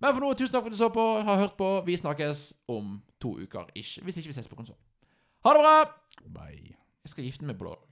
Speaker 1: Men for nå, tusen takk for at du så på, har hørt på. Vi snakkes om to uker ish. Hvis ikke vi ses på konsol. Ha det bra!
Speaker 2: Bye.
Speaker 1: Jeg skal gifte meg på lørdag.